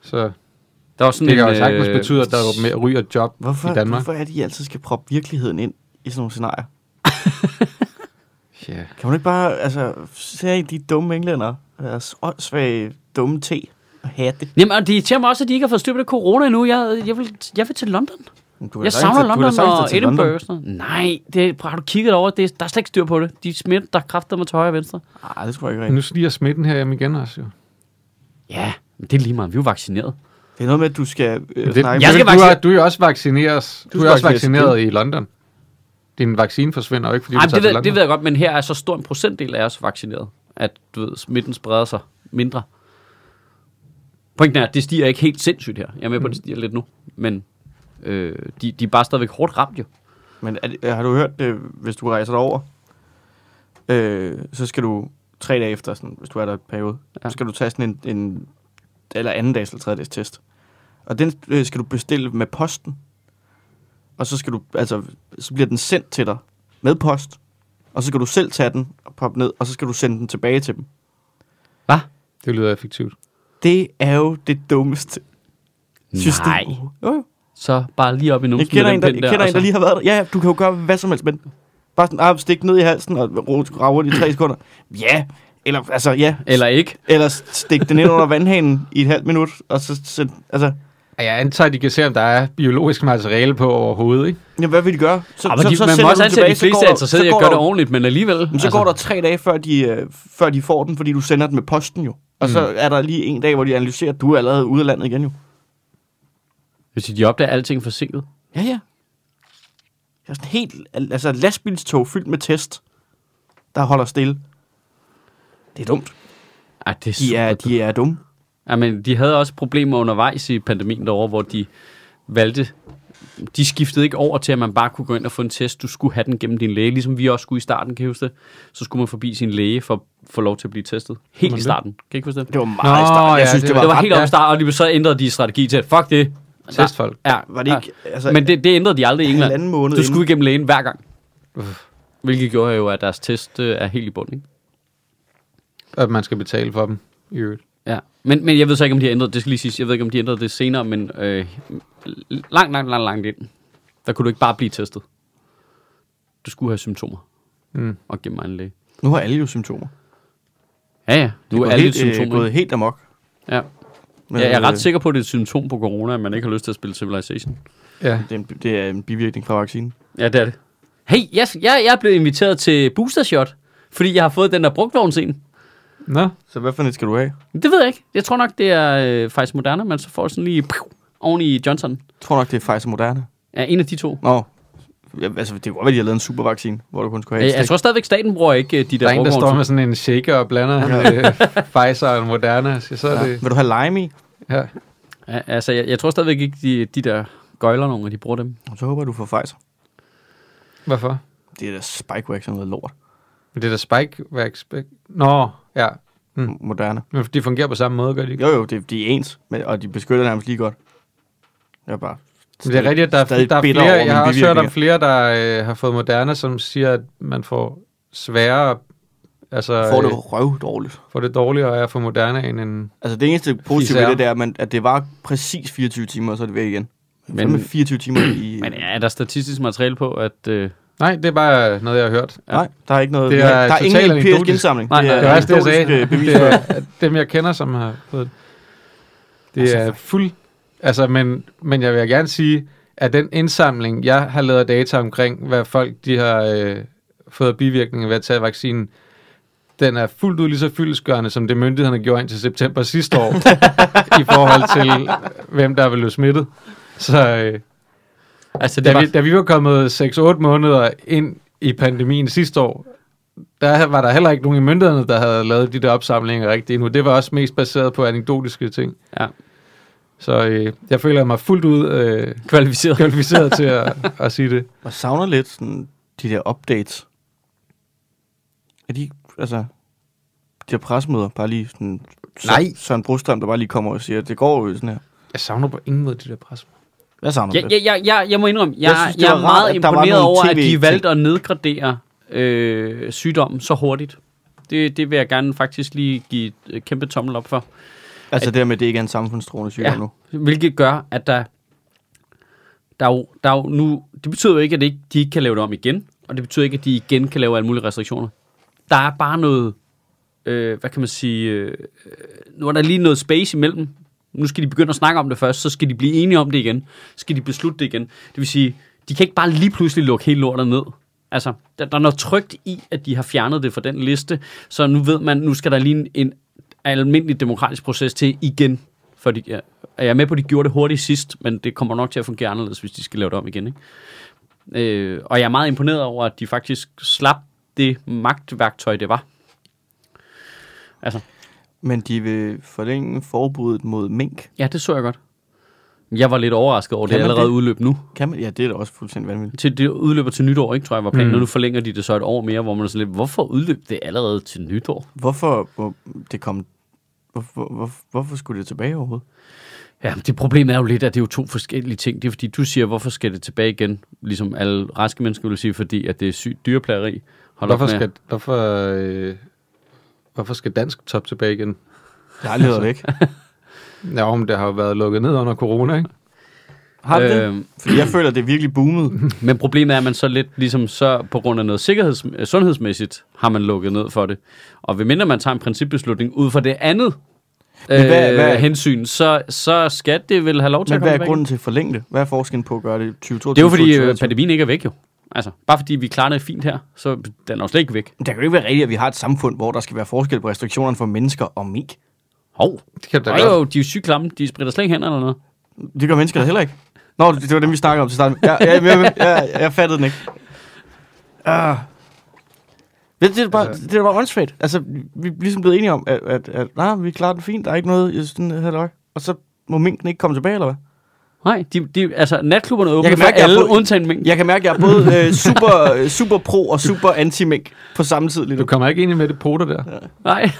S2: Så det
S1: Der var sådan
S2: kan
S1: en,
S2: jo sagtens
S1: øh,
S2: betyde, at der jo mere ryger job
S3: Hvorfor,
S2: i Danmark.
S3: hvorfor er det, I altid skal proppe virkeligheden ind i sådan nogle scenarier?
S2: Ja.
S3: Kan man ikke bare, altså, se de dumme englænder, deres åndssvage dumme te og hatte.
S1: Jamen, og det irriterer mig også, at de ikke har fået styr på det corona endnu. Jeg, jeg, vil, jeg vil til London.
S3: Men Du kan
S1: Jeg
S3: da
S1: savner
S3: sagtens- du kan da
S1: London
S3: sagtens
S1: og
S3: tage til London.
S1: Edinburgh. og Sådan. noget. Nej, det, har du kigget over? Det, er- der er slet ikke styr på det. De smitter, der kræfter mig til højre og venstre.
S3: Nej, det tror jeg ikke rigtigt.
S2: Nu sniger smitten herhjemme igen også, jo.
S1: Ja, men det er lige meget. Vi er jo vaccineret.
S3: Det er noget med, at du skal øh,
S2: Det,
S3: snakke
S1: Jeg
S2: du,
S1: skal
S2: du, er,
S1: vaccine-
S2: du er jo også vaccineret, du
S3: skal
S2: er også
S3: vaccineres.
S2: vaccineret i London. Din vaccine forsvinder jo ikke, fordi
S1: Ej,
S2: du
S1: men
S2: tager
S1: det,
S2: til
S1: ved, det
S2: London.
S1: ved jeg godt, men her er så stor en procentdel af os vaccineret, at du ved, smitten spreder sig mindre. Pointen er, at det stiger ikke helt sindssygt her. Jeg er med på, at det stiger lidt nu. Men øh, de, de er bare stadigvæk hårdt ramt jo.
S3: Men er, det- har du hørt, det, hvis du rejser derover, øh, så skal du tre dage efter, sådan, hvis du er der et periode,
S1: Ja.
S3: ja. så skal du tage sådan en, en eller anden dags eller tredje dags test. Og den øh, skal du bestille med posten. Og så, skal du, altså, så bliver den sendt til dig med post. Og så skal du selv tage den og poppe ned, og så skal du sende den tilbage til dem.
S1: Hvad?
S2: Det lyder effektivt.
S3: Det er jo det dummeste system.
S1: Nej.
S3: Jo, jo.
S1: Så bare lige op i numsen
S3: Jeg kender
S1: med den
S3: en, der,
S1: pind
S3: jeg kender
S1: og
S3: en, der
S1: så-
S3: lige har været der. Ja, ja, du kan jo gøre hvad som helst med den. Bare sådan, ah, stik ned i halsen og ro- rave rundt i tre sekunder. Ja, Eller, altså, ja.
S1: Eller ikke.
S3: Eller stik den ind under vandhanen i et halvt minut, og så... så altså,
S2: Ja, Jeg antager, at de kan se, om der er biologisk materiale på overhovedet, ikke?
S3: jamen, hvad vil de gøre? Så,
S1: Så, Ah, men de, man
S3: sender
S1: må
S3: du
S1: også
S3: den
S1: antage, at de
S3: tilbage, så går
S1: fleste er
S3: der-
S1: interesseret i
S3: så
S1: at
S3: går
S1: gøre det
S3: der-
S1: ordentligt, men alligevel.
S3: Men så altså. går der tre dage, før de, øh, før de får den, fordi du sender den med posten jo. Og mm. så er der lige en dag, hvor de analyserer, at du er allerede ude af landet igen jo.
S1: Hvis de opdager alting forsinket.
S3: Ja, ja. Jeg er sådan helt, al- altså et lastbilstog fyldt med test, der holder stille. Det er dumt.
S1: Ej, det er
S3: De
S1: super
S3: er, de er dumme.
S1: Ja, men de havde også problemer undervejs i pandemien derovre, hvor de valgte... De skiftede ikke over til, at man bare kunne gå ind og få en test. Du skulle have den gennem din læge, ligesom vi også skulle i starten, kan I huske det? Så skulle man forbi sin læge for at få lov til at blive testet. Helt i starten. Kan I ikke huske det?
S3: Det var meget
S2: Nå,
S3: i starten. Jeg
S2: ja,
S3: synes,
S2: det-
S3: det, var,
S1: Det var
S3: ret-
S1: helt
S2: ja.
S1: opstart, og de så ændrede de strategi til, at fuck det.
S2: Testfolk.
S1: Ja,
S3: Var det ikke? Altså,
S1: Ja. Men det, det ændrede de aldrig i England.
S3: Halvanden måned
S1: du skulle igennem lægen hver gang. Hvilket gjorde jo, at deres test øh, er helt i bund, ikke?
S2: At man skal betale for dem i øvrigt.
S1: Ja, men, men jeg ved så ikke, om de har ændret det. skal lige siges, jeg ved ikke, om de ændrede det senere, men øh, langt, langt, langt, langt ind, der kunne du ikke bare blive testet. Du skulle have symptomer
S2: Mm.
S1: og gennem en læge.
S3: nu har alle jo symptomer.
S1: Ja, ja, nu er
S3: Gået
S1: alle
S3: helt,
S1: lidt
S3: øh,
S1: symptomer.
S3: gået
S1: ikke?
S3: helt amok.
S1: Ja.
S3: Men,
S1: ja, jeg er
S3: øh,
S1: ret sikker på, at det er et symptom på corona, at man ikke har lyst til at spille Civilization.
S2: Ja.
S3: Det er, en, det er en bivirkning fra vaccinen.
S1: Ja, det er det. Hey, jeg, jeg, jeg er blevet inviteret til Booster Shot, fordi jeg har fået den der brugtvognsen.
S2: Nå,
S3: Så hvad for en skal du have?
S1: Det ved jeg ikke. Jeg tror nok, det er øh, faktisk Moderna, men så får jeg sådan lige piu, oven i Johnson.
S3: Jeg tror nok, det er Pfizer Moderna.
S1: Ja, en af de to.
S3: Nå, ja, altså, det kunne godt være, de har lavet en supervaccine, hvor du kun skulle have
S1: Jeg,
S3: et
S1: jeg
S3: stik.
S1: tror stadigvæk, staten bruger ikke øh, de der,
S2: der er en, der står
S1: brugtvognsur.
S2: med sådan en shaker og blander øh, Pfizer og Moderna. Så så er
S3: Ja.
S2: det...
S3: Vil du have lime i?
S2: Ja.
S1: Ja, altså, jeg, jeg tror stadigvæk ikke, de, de der gøjler nogen, de bruger dem.
S3: Så håber jeg, du får Pfizer.
S2: Hvorfor?
S3: Det er da Spikevax og noget lort.
S2: Men Det er da Spikevax. Nå, ja. Mm.
S3: Moderne.
S2: Men de fungerer på samme måde, gør de ikke?
S3: Jo, jo, det, de er ens, men, og de beskytter nærmest lige godt. Jeg er bare...
S2: Men det er rigtigt, at der, er-
S3: stadig
S2: der er
S3: bitter
S2: flere,
S3: over
S2: jeg har
S3: mine
S2: også hørt om
S3: bivirkninger.
S2: flere, der øh, har fået Moderna, som siger, at man får sværere, altså
S3: Får
S2: øh,
S3: det røv dårligt.
S2: får det dårligere af at få Moderna end en...
S3: Altså det eneste positive ved
S2: Især.
S3: det, det er, at man- at det var præcis 24 timer, og så er det væk igen. Men, med 24 timer i...
S1: Men er der statistisk materiale på, at... Øh,
S2: Nej, det er bare noget, jeg har hørt.
S3: Nej, der er ikke noget...
S2: Det er
S3: der er ingen
S2: totalt
S3: empirisk
S2: anekdotisk.
S3: indsamling.
S1: Nej, nej,
S2: Det var også det, jeg sagde.
S3: anekdotisk, øh, bevis
S2: Det
S3: for-
S2: er dem, jeg kender, som har fået det. Det
S3: Altså,
S2: er fuld... Altså, men, men jeg vil gerne sige, at den indsamling, jeg har lavet af data omkring, hvad folk de har øh, fået af bivirkninger ved at tage vaccinen, den er fuldt ud lige så fyldesgørende, som det myndighederne gjorde indtil september sidste år, i forhold til, hvem der er blevet smittet. Så øh,
S1: altså, det
S2: da,
S1: var,
S2: vi, da vi var kommet 6-8 måneder ind i pandemien sidste år, der var der heller ikke nogen i myndighederne, der havde lavet de der opsamlinger rigtigt endnu. Det var også mest baseret på anekdotiske ting.
S1: ja,
S2: Så øh, jeg føler mig fuldt ud øh,
S1: kvalificeret.
S2: kvalificeret til at, at sige det.
S3: Og savner lidt sådan, de der updates. Er de, ikke- altså, de der presmøder, bare lige sådan... Sø-
S2: Nej.
S3: Søren Brostrøm, der bare lige kommer og siger, at det går jo sådan her.
S2: Jeg savner på ingen måde de der pres.
S3: Hvad savner du?
S1: Jeg, jeg, jeg, jeg, jeg må indrømme, jeg, jeg,
S3: Jeg synes, det
S1: jeg
S3: var
S1: er
S3: rart,
S1: meget
S3: at der var
S1: imponeret
S3: nogle
S1: over, at de
S3: TV-ting.
S1: valgte at nedgradere øh, sygdommen så hurtigt. Det, det vil jeg gerne faktisk lige give et øh, kæmpe tommel op for.
S3: Altså det der med, at det ikke er en samfundstrående sygdom
S1: Ja.
S3: nu.
S1: Hvilket gør, at der, der, er jo, der er jo nu... Det betyder jo ikke, at det ikke, de ikke kan lave det om igen, og det betyder ikke, at de igen kan lave alle mulige restriktioner. Der er bare noget... Øh, hvad kan man sige? Øh, nu er der lige noget space imellem. Nu skal de begynde at snakke om det først, så skal de blive enige om det igen. Så skal de beslutte det igen. Det vil sige, de kan ikke bare lige pludselig lukke hele lortet ned. Altså, der, der er noget trygt i, at de har fjernet det fra den liste, så nu ved man, nu skal der lige en, en almindelig demokratisk proces til igen. For de, ja, jeg er med på, at de gjorde det hurtigt sidst, men det kommer nok til at fungere anderledes, hvis de skal lave det om igen. Ikke? Øh, og jeg er meget imponeret over, at de faktisk slap det magtværktøj, det var. Altså,
S3: Men de vil forlænge forbuddet mod mink.
S1: Ja, det så jeg godt. Jeg var lidt overrasket over, at det
S3: Kan man
S1: allerede det?
S3: det?
S1: udløb nu.
S3: Kan man? Ja, det er da også fuldstændig vanvittigt.
S1: Til det udløber til nytår, ikke, tror jeg var planen. Mm.
S2: Mm.
S1: Nu forlænger de det så et år mere, hvor man er sådan lidt, hvorfor udløb det allerede til nytår?
S3: Hvorfor hvor det kom... Hvorfor, hvorfor, hvorfor skulle det tilbage overhovedet?
S1: Ja, men det problem er jo lidt, at det er jo to forskellige ting. Det er fordi, du siger, hvorfor skal det tilbage igen? Ligesom alle raske mennesker vil sige, fordi at det er sygt dyreplageri. Hold
S2: Hvorfor
S1: op med.
S2: skal, hvorfor, øh, hvorfor skal dansk top tilbage igen?
S3: Jeg har aldrig været væk.
S2: Ja, om det har jo været lukket ned under corona, ikke?
S3: Har det det?
S1: Øhm,
S3: Fordi jeg føler, det er virkelig boomet.
S1: Men problemet er, at man så lidt ligesom så på grund af noget sikkerheds, øh, sundhedsmæssigt har man lukket ned for det. Og ved mindre man tager en principbeslutning ud fra det andet øh,
S3: hvad-
S1: hvad,
S3: hvad-
S1: hvad, hensyn, så, så skal det vel have lov til
S3: Men
S1: at
S3: hvad
S1: komme
S3: er
S1: tilbage.
S3: grunden til at forlænge det? Hvad er forskellen på at gøre det 2022?
S1: Det er jo fordi øh,
S3: 2023?
S1: pandemien ikke er væk jo. Altså, bare fordi vi klarer det fint her, så den er jo slet ikke væk.
S3: Men Det kan jo ikke være rigtigt, at vi har et samfund, hvor der skal være forskel på restriktionerne for mennesker og mink.
S1: Hov.
S2: Det kan det da
S1: Og
S2: godt.
S1: jo, de er jo sygt klamme. De spritter slet ikke hænder eller noget.
S3: Det gør mennesker da heller ikke. Nå, det, det var dem, vi snakkede om til starten. Ja, ja, ja, ja, ja, jeg fattede den ikke. Ah. Det, det, er bare, det er bare åndssvagt. Altså, vi er ligesom blevet enige om, at, at, at nej, vi klarer den fint. Der er ikke noget, jeg sådan, halløj. Og så må minken ikke komme tilbage, eller hvad?
S1: Nej, de, de, altså natklubberne åbner
S3: kan
S1: for
S3: mærke, jeg har
S1: alle,
S3: fået-
S1: undtagen mink.
S3: Jeg kan mærke, at jeg er både øh, super, øh, super pro og super anti-mink på samme tid lige
S2: Du
S3: nu.
S2: kommer ikke ind i med det poter der.
S1: Nej.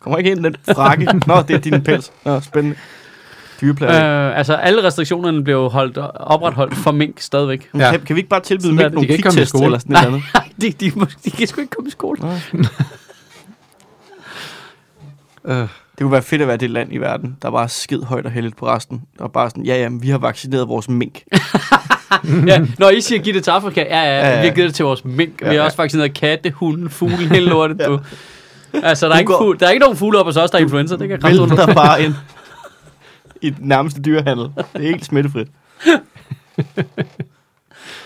S3: Kommer ikke ind i den frakke. Nå, det er din pels. Nå, spændende. Dyreplade.
S1: Øh, altså, alle restriktionerne blev jo holdt, opretholdt for mink stadigvæk.
S3: Ja.
S2: Ja.
S3: Kan, kan vi ikke bare tilbyde
S2: Sådan er
S3: mink
S2: det.
S3: nogle
S2: De kan ikke komme i
S3: kviktest
S2: skole.
S3: eller sådan et
S1: Nej,
S3: eller andet?
S1: nej de, de, må, de kan sgu ikke komme i skole.
S2: Øh,
S3: Det kunne være fedt at være det land i verden, der bare er skid højt og heldigt på resten. Og bare sådan, ja, ja, men vi har vaccineret vores mink.
S1: ja, når I siger, giv det til Afrika, ja, ja,
S3: Ja, ja.
S1: ja, vi har givet det til vores mink.
S3: Ja,
S1: Vi
S3: ja.
S1: har også vaccineret katte, hunde, fugle, hele lortet. Du. Altså, der er,
S3: Du
S1: ikke
S3: går-
S1: fugle, der er ikke nogen fugle op hos os, der er influenza. Det kan kraft under.
S3: Vælter bare ind i den nærmeste dyrehandel. Det er helt smittefrit.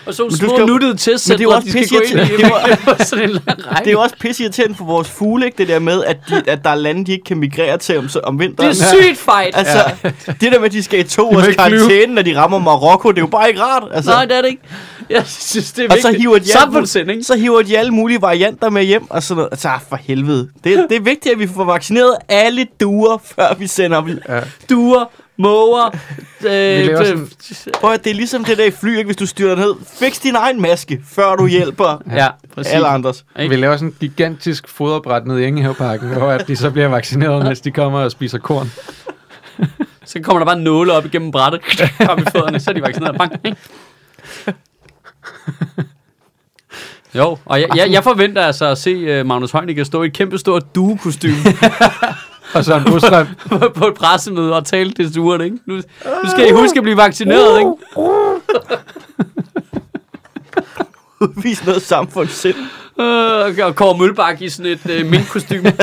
S1: Og så
S3: du
S1: små
S3: skal-
S1: skal... nuttede
S3: Men det er jo
S1: testcentre,
S3: også
S1: de skal gå ind i.
S3: pisseirriterende.
S1: Det var sådan en lang
S3: Det er
S1: række.
S3: jo også pisse irriterende for vores fugle, ikke? Det der med, at, de, at der er lande, de ikke kan migrere til om, om
S1: Det
S3: vinteren.
S1: er sygt fejl.
S3: Altså, ja. det der med, at de skal i to
S2: må
S3: års
S2: ikke flyve.
S3: karantæne, når de rammer Marokko, det er jo bare ikke rart. Altså,
S1: Nej, det er det ikke. Jeg synes, det er
S3: og så
S1: vigtigt.
S3: hiver, de
S1: Samfundssind,
S3: alle,
S1: ikke?
S3: så hiver de alle mulige varianter med hjem og sådan noget. Altså, ah, for helvede. Det, det er vigtigt, at vi får vaccineret alle duer, før vi sender dem.
S2: ja.
S1: Duer, måger, øh,
S2: laver sådan-
S1: øh,
S3: Prøv at det er ligesom det der i fly, ikke? hvis du styrer ned. Fix din egen maske, før du hjælper
S1: Ja, præcis.
S3: alle andres.
S2: Ikke? Vi laver sådan en gigantisk foderbræt ned i Engehaveparken, hvor at de så bliver vaccineret, mens de kommer og spiser korn.
S1: Så kommer der bare nåle op igennem brættet. Kom i fødderne, så er de vaccineret. Bang. Ikke? Jo, og jeg, jeg, jeg forventer altså at se uh, Magnus Heunicke stå i et kæmpe stort duekostyme
S2: Og så en busstrøm.
S1: på, på et pressemøde og tale til surt, ikke? Nu, nu skal I
S3: Uh,
S1: huske at blive vaccineret, ikke?
S3: Udvis noget samfundssind.
S1: Øh, og Kåre Mølbak i sådan et uh, minkkostyme.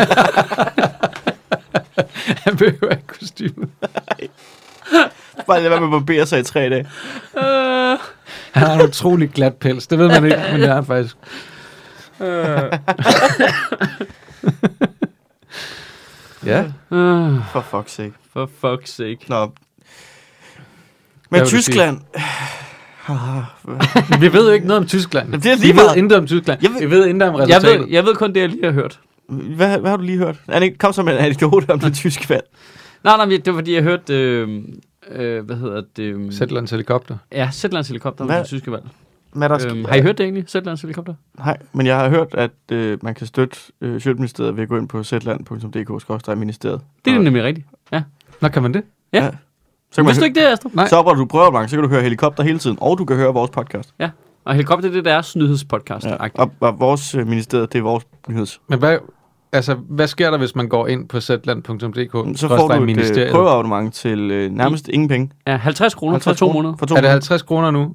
S2: Han behøver ikke kostyme.
S3: Bare lade være med at barbere sig i tre dage.
S1: Øh,
S2: Han har en utrolig glat pels. Det ved man ikke, men det er han faktisk.
S1: øh,
S2: Ja.
S1: øh,
S3: For fuck's sake.
S1: for fuck's sake.
S3: Nå.
S2: Hvad
S3: Men
S2: vil du
S3: Tyskland...
S2: Vi ved jo ikke noget om Tyskland.
S3: Jamen, det er lige
S2: vi ved
S3: meget.
S2: intet om Tyskland.
S3: Jeg ved-
S2: Vi ved intet om
S1: Jeg
S2: resultatet.
S1: ved, jeg ved kun det, jeg lige har hørt.
S3: Hvad, hvad har du lige hørt? Anne, kom så med en anekdote om det tyske valg.
S1: Nej, nej, men det var fordi, jeg hørte... Øh, øh, hvad hedder det? øh,
S2: Sætlands helikopter.
S1: Ja, Sætlands helikopter
S3: Hvad?
S1: med tyske valg.
S3: Maddersk.
S1: Øhm, har I hørt det egentlig? Sætlands helikopter?
S3: Nej, men jeg har hørt, at øh, man kan støtte øh, Sjøtministeriet ved at gå ind på zland.dk-ministeriet.
S1: Det er det nemlig rigtigt.
S2: Nå, kan man det?
S1: Ja.
S3: Ja. Så,
S1: Så
S3: kan man
S1: vidste du
S3: hø-
S1: ikke det, Astrup?
S2: Nej.
S3: så opretter du prøveabonnement, så kan du høre helikopter hele tiden, og du kan høre vores podcast.
S1: Og helikopter, det er deres nyhedspodcast.
S3: Ja.
S1: Ja.
S3: Og, og vores øh, ministeriet, det er vores nyheds.
S2: Men hvad, altså, hvad sker der, hvis man går ind på zland.dk?
S3: Så får du et øh,
S2: ministeriet?
S3: prøveabonnement til øh, nærmest ingen penge.
S1: ja 50 kroner for to måneder.
S3: For to
S2: Er det
S3: måneder.
S2: 50 kroner nu?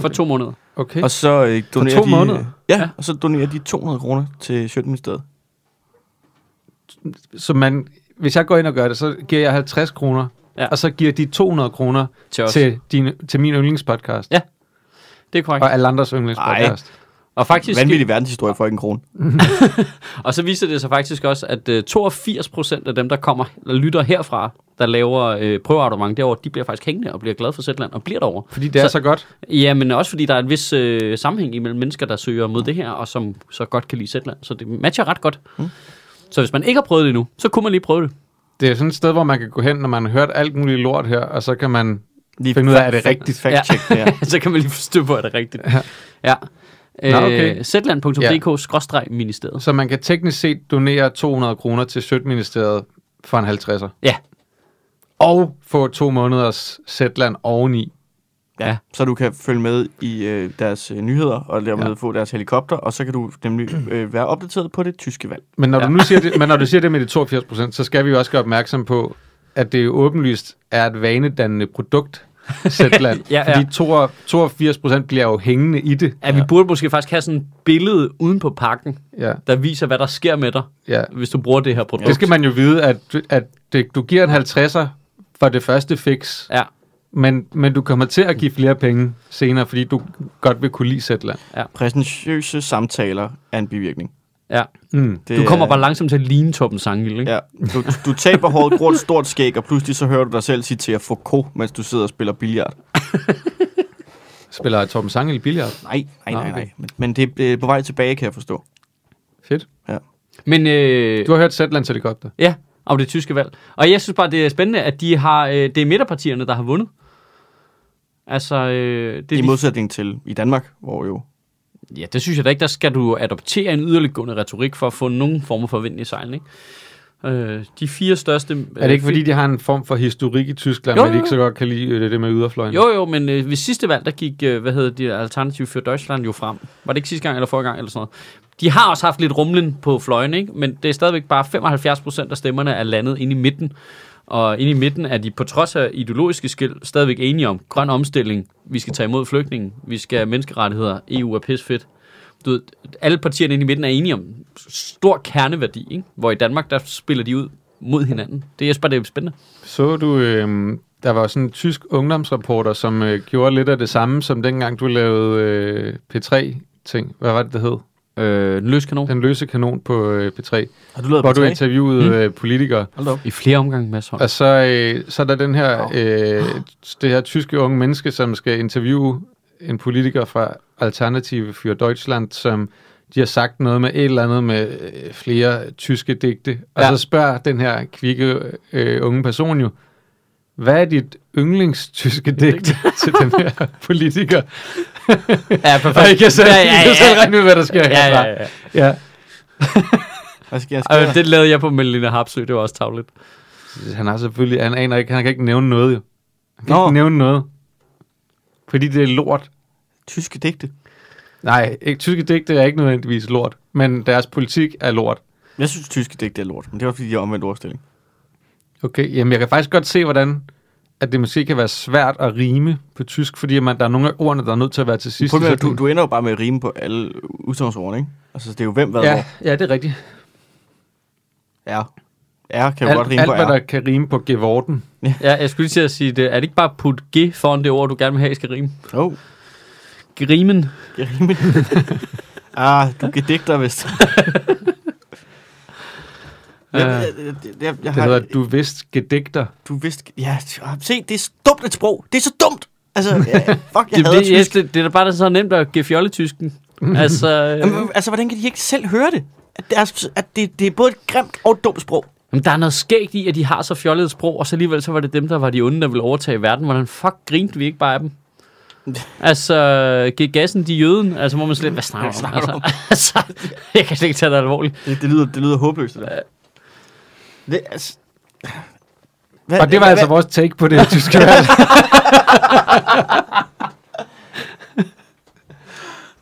S1: For to måneder.
S2: Okay.
S3: Og så øh, donerer
S2: to
S3: de,
S2: måneder?
S3: Ja,
S1: Ja.
S3: og så donerer de 200 kroner til Sjøtministeriet.
S2: Så man, hvis jeg går ind og gør det, så giver jeg 50 kroner,
S1: Ja.
S2: ja. og så giver de 200 kroner
S1: Til os.
S2: til, din, til min yndlingspodcast,
S1: Ja. Det er korrekt.
S2: og alle andres yndlingspodcast.
S1: Og, faktisk,
S3: Vanvittig verdenshistorie for en krone.
S1: og så viser det sig faktisk også, at øh, 82 procent af dem, der kommer eller lytter herfra, der laver øh, prøveabonnement derovre, de bliver faktisk hængende og bliver glade for Sætland og bliver derovre.
S2: Fordi det er så,
S1: Så-
S2: godt.
S1: Ja, men også fordi der er en vis øh, sammenhæng imellem mennesker, der søger mod det her, og som så godt kan lide Sætland. Så det matcher ret godt. Mm. Så hvis man ikke har prøvet det endnu, så kunne man lige prøve det.
S2: Det er sådan et sted, hvor man kan gå hen, når man har hørt alt muligt lort her, og så kan man...
S3: Lige
S2: Finde ud af, er det
S3: fact-
S2: rigtigt?
S3: Fact-check ja. det her.
S1: så kan man lige forstå, hvor er det rigtigt.
S2: Ja.
S1: ja. Øh,
S2: Nå, okay.
S1: Zetland.dk-ministeriet.
S2: Så man kan teknisk set donere 200 kroner til Sødministeriet for en 50'er.
S1: Ja.
S2: Og få to måneders Zetland oveni.
S1: Ja.
S3: Så du kan følge med i øh, deres øh, nyheder, og dermed ja.
S2: Ja.
S3: få deres helikopter, og så kan du nemlig øh, være opdateret på det tyske valg.
S2: Men når, ja.
S1: Ja.
S2: du nu siger det, men når du siger det med de 82 så skal vi jo også gøre opmærksom på, at det jo åbenlyst er et vanedannende produkt, Zetland.
S1: Ja,
S2: ja,
S1: ja.
S2: ja. Fordi 82 procent bliver jo hængende i det.
S1: At vi burde måske faktisk have sådan et billede uden på pakken,
S2: Ja,
S1: der viser, hvad der sker med dig,
S2: ja.
S1: hvis du bruger det her produkt.
S2: Det skal man jo vide, at, at det, du giver en 50'er for det første fix,
S1: Ja,
S2: men, men du kommer til at give flere penge senere, fordi du godt vil kunne lide Zetland.
S3: Præsentiøse samtaler er en bivirkning.
S1: ja.
S2: Mm.
S3: Det
S1: Du kommer
S3: er-
S1: bare langsomt til at ligne Torben Sangel, ikke?
S3: Ja, du, du taber håret, gror et stort skæg, og pludselig så hører du dig selv citere Foucault, mens du sidder og spiller billiard.
S2: Spiller Torben Sangel i billiard?
S3: Nej, nej, nej,
S2: okay.
S3: nej. Men, men det er øh, på vej tilbage, kan jeg forstå.
S2: Fedt.
S1: Men, øh,
S2: Du har hørt Zetlands helikopter.
S1: ja, om det tyske valg. Og jeg synes bare, det er spændende, at de har, øh, det er midterpartierne, der har vundet. Altså, øh, det, er
S3: I
S1: de-
S3: modsætning til i Danmark, hvor jo...
S1: Ja, det synes jeg da ikke. Der skal du adoptere en yderliggående retorik for at få nogen form for vind i sejlen, ikke? Øh, de fire største...
S2: Er det ikke, fordi de har en form for historik i Tyskland,
S1: Øh, Jo,
S2: jo, men de
S1: jo,
S2: ikke så godt kan lide øh, det med yderfløjen?
S1: Jo, jo, men øh, ved sidste valg, der gik, øh, hvad hedder de, Alternativ for Deutschland jo frem. Var det ikke sidste gang eller forrige gang eller sådan noget? De har også haft lidt rumlen på fløjen, ikke? Men det er stadigvæk bare 75 procent af stemmerne er landet inde i midten. Og inde i midten er de på trods af ideologiske skil stadigvæk enige om grøn omstilling. Vi skal tage imod flygtninge. Vi skal have menneskerettigheder. EU er pisfedt. Du ved, alle partierne inde i midten er enige om stor kerneværdi, ikke? Hvor i Danmark, der spiller de ud mod hinanden. Det er jeg synes bare, det er spændende.
S2: Så du, øh, der var sådan en tysk ungdomsreporter, som øh, gjorde lidt af det samme, som dengang du lavede øh, P3-ting. Hvad var det, det hed?
S1: Øh, løs kanon.
S2: Den løse kanon på øh, P3,
S3: Har du lavet
S2: hvor
S3: på
S2: du
S3: tre?
S2: interviewede øh, politikere.
S3: Hold da op. Altså,
S1: I flere omgange, Mads Holm.
S2: Og så, øh, så er der den her, øh, det her tyske unge menneske, som skal interviewe en politiker fra Alternative für Deutschland, som de har sagt noget med et eller andet med øh, flere tyske digte. Og
S1: Ja.
S2: ja. så spørger den her kvikke øh, unge person jo, hvad er dit yndlingstyske digt til den her politiker?
S1: Ja,
S2: Og I kan selv, ja, ja, ja. I kan selv regne ud, hvad der sker
S1: Ja, ja, ja.
S2: ja. ja.
S3: Hvad skal Altså, jeg
S1: Ej,
S3: skrive?
S1: men det lavede jeg på Melina Harpsø, det var også tavligt.
S2: Han har selvfølgelig, han aner ikke, han kan ikke nævne noget jo. Han kan
S3: Nå.
S2: Nå. ikke nævne noget. Fordi det er lort.
S3: Tyske digte.
S2: Nej, ikke, tyske digte er ikke nødvendigvis lort, men deres politik er lort.
S3: Jeg synes, tyske digte er lort, men det var fordi, de har omvendt ordstilling.
S2: Okay, jamen jeg kan faktisk godt se, hvordan at det måske kan være svært at rime på tysk, fordi man, der er nogle af ordene, der er nødt til at være til sidst. i
S3: Problemet er,
S2: sætningen.
S3: du, du ender jo bare med at rime på alle udsagnsord, ikke? Altså, det er jo hvem, hvad,
S2: ja,
S3: hvor.
S2: ja, det er rigtigt.
S3: Er. Er kan jo
S2: Alt,
S3: godt rime
S2: alt
S3: på
S2: hvad
S3: er.
S2: der kan rime på gevorten.
S1: Ja, jeg skulle lige til at sige det. Er det ikke bare put G foran det ord, du gerne vil have, I skal rime?
S3: Jo, oh,
S1: Grimen.
S3: jeg rimer. ah, du gedigter vist. jeg, jeg, jeg, jeg, jeg, jeg
S2: Det
S3: har,
S2: hedder, du vist gedigter.
S3: du vidste... Ja, t- se, det er så dumt et sprog. Det er så dumt. Altså, ja, fuck, jeg
S1: Det,
S3: hader
S1: det,
S3: tysk.
S1: det, det, det, er da bare så nemt at give fjolletysken. altså, øh,
S3: Jamen, altså, hvordan kan de ikke selv høre det? At, deres, at det, det er både et grimt og et dumt sprog.
S1: jamen, der er noget skægt i, at de har så fjollet et sprog, og så alligevel så var det dem, der var de onde, der ville overtage verden. Hvordan fuck grinte vi ikke bare af dem? Altså, giv gassen de jøden, altså må man slet hvad snakker du om?
S3: Hvad snakker du
S1: Altså, altså, jeg kan slet ikke tage det alvorligt.
S3: Det, det, lyder, det lyder håbløst, det der. Det, altså, hvad,
S2: Og det var altså vores take på det tyske valg.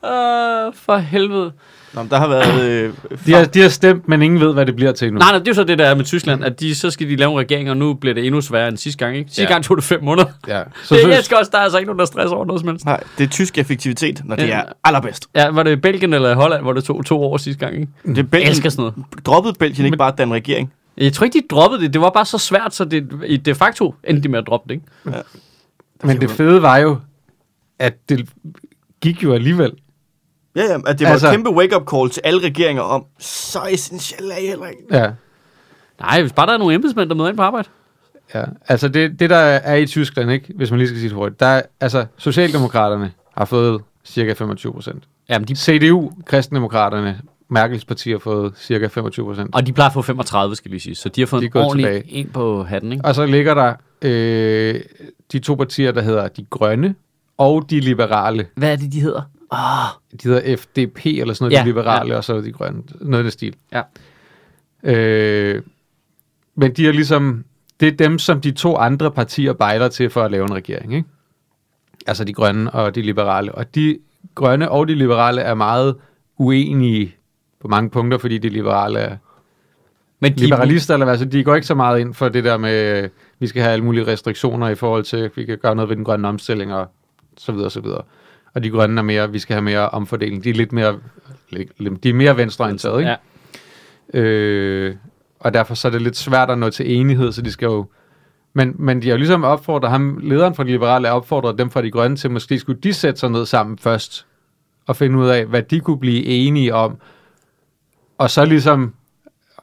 S1: Åh, for helvede.
S3: Nå, men der har været... Øh,
S2: De har, de har stemt, men ingen ved, hvad det bliver til nu.
S1: Nej, nej, det er jo så det, der er med Tyskland, at de, så skal de lave en regering, og nu bliver det endnu sværere end sidste gang, ikke? Sidste ja.
S2: Ja.
S1: gang tog det fem måneder.
S2: Ja. Så,
S1: Så, det,
S2: så,
S1: jeg skal også, der er altså ikke nogen, der stresser over noget som helst.
S3: nej, det er tysk effektivitet, når det
S1: Ja.
S3: er allerbedst.
S1: Ja, var det i Belgien eller i Holland, hvor det tog to år sidste gang, ikke?
S3: Det
S2: Mm.
S3: er
S1: Jeg
S3: Belgien,
S1: elsker sådan noget.
S3: droppede Belgien ikke bare at danne regering?
S1: Jeg tror ikke, de droppede det. Det var bare så svært, så det, i de facto endte de med at droppe det, ikke?
S2: men det fede var jo, at det gik jo alligevel.
S3: Ja, ja, at det var altså,
S2: Altså-
S3: et kæmpe wake-up call til alle regeringer om, så essentielt er I heller ikke.
S2: Ja.
S1: Nej, hvis bare der er nogle embedsmænd, der møder ind på arbejde.
S2: Ja, altså det, det der er i Tyskland, ikke, hvis man lige skal sige det hurtigt, der er, altså Socialdemokraterne har fået cirka 25 procent.
S1: Jamen, de,
S2: CDU, Kristendemokraterne, Merkels parti har fået cirka 25 procent.
S1: og de plejer at få 35, skal lige sige. Så de har fået
S2: De er
S1: en
S2: gået
S1: ordentlig
S2: tilbage.
S1: en på hatten, ikke?
S2: Og så ligger der øh, de to partier, der hedder De Grønne og De Liberale.
S1: Hvad er det, de hedder?
S2: De hedder FDP eller sådan noget, ja,
S1: Ja,
S2: De Liberale,
S1: ja.
S2: ja. og så De Grønne. Noget af den stil.
S1: Ja.
S2: Øh, men de er ligesom, det er dem, som de to andre partier bejler til for at lave en regering, ikke? Altså de grønne og de liberale. Og de grønne og de liberale er meget uenige på mange punkter, fordi de liberale er,
S1: Men de,
S2: Liberalister, eller hvad, altså, de går ikke så meget ind for det der med, øh, vi skal have alle mulige restriktioner i forhold til, at vi kan gøre noget ved den grønne omstilling, og så videre, så videre. Og de grønne er mere, vi skal have mere omfordeling. De er lidt mere, lidt- de er mere venstreorienterede, ikke?
S1: Ja.
S2: Øh, og derfor så er det lidt svært at nå til enighed, så de skal jo... Men, men de har jo ligesom opfordret ham, lederen fra de liberale, opfordret dem fra de grønne til, måske skulle de sætte sig ned sammen først, og finde ud af, hvad de kunne blive enige om, og så ligesom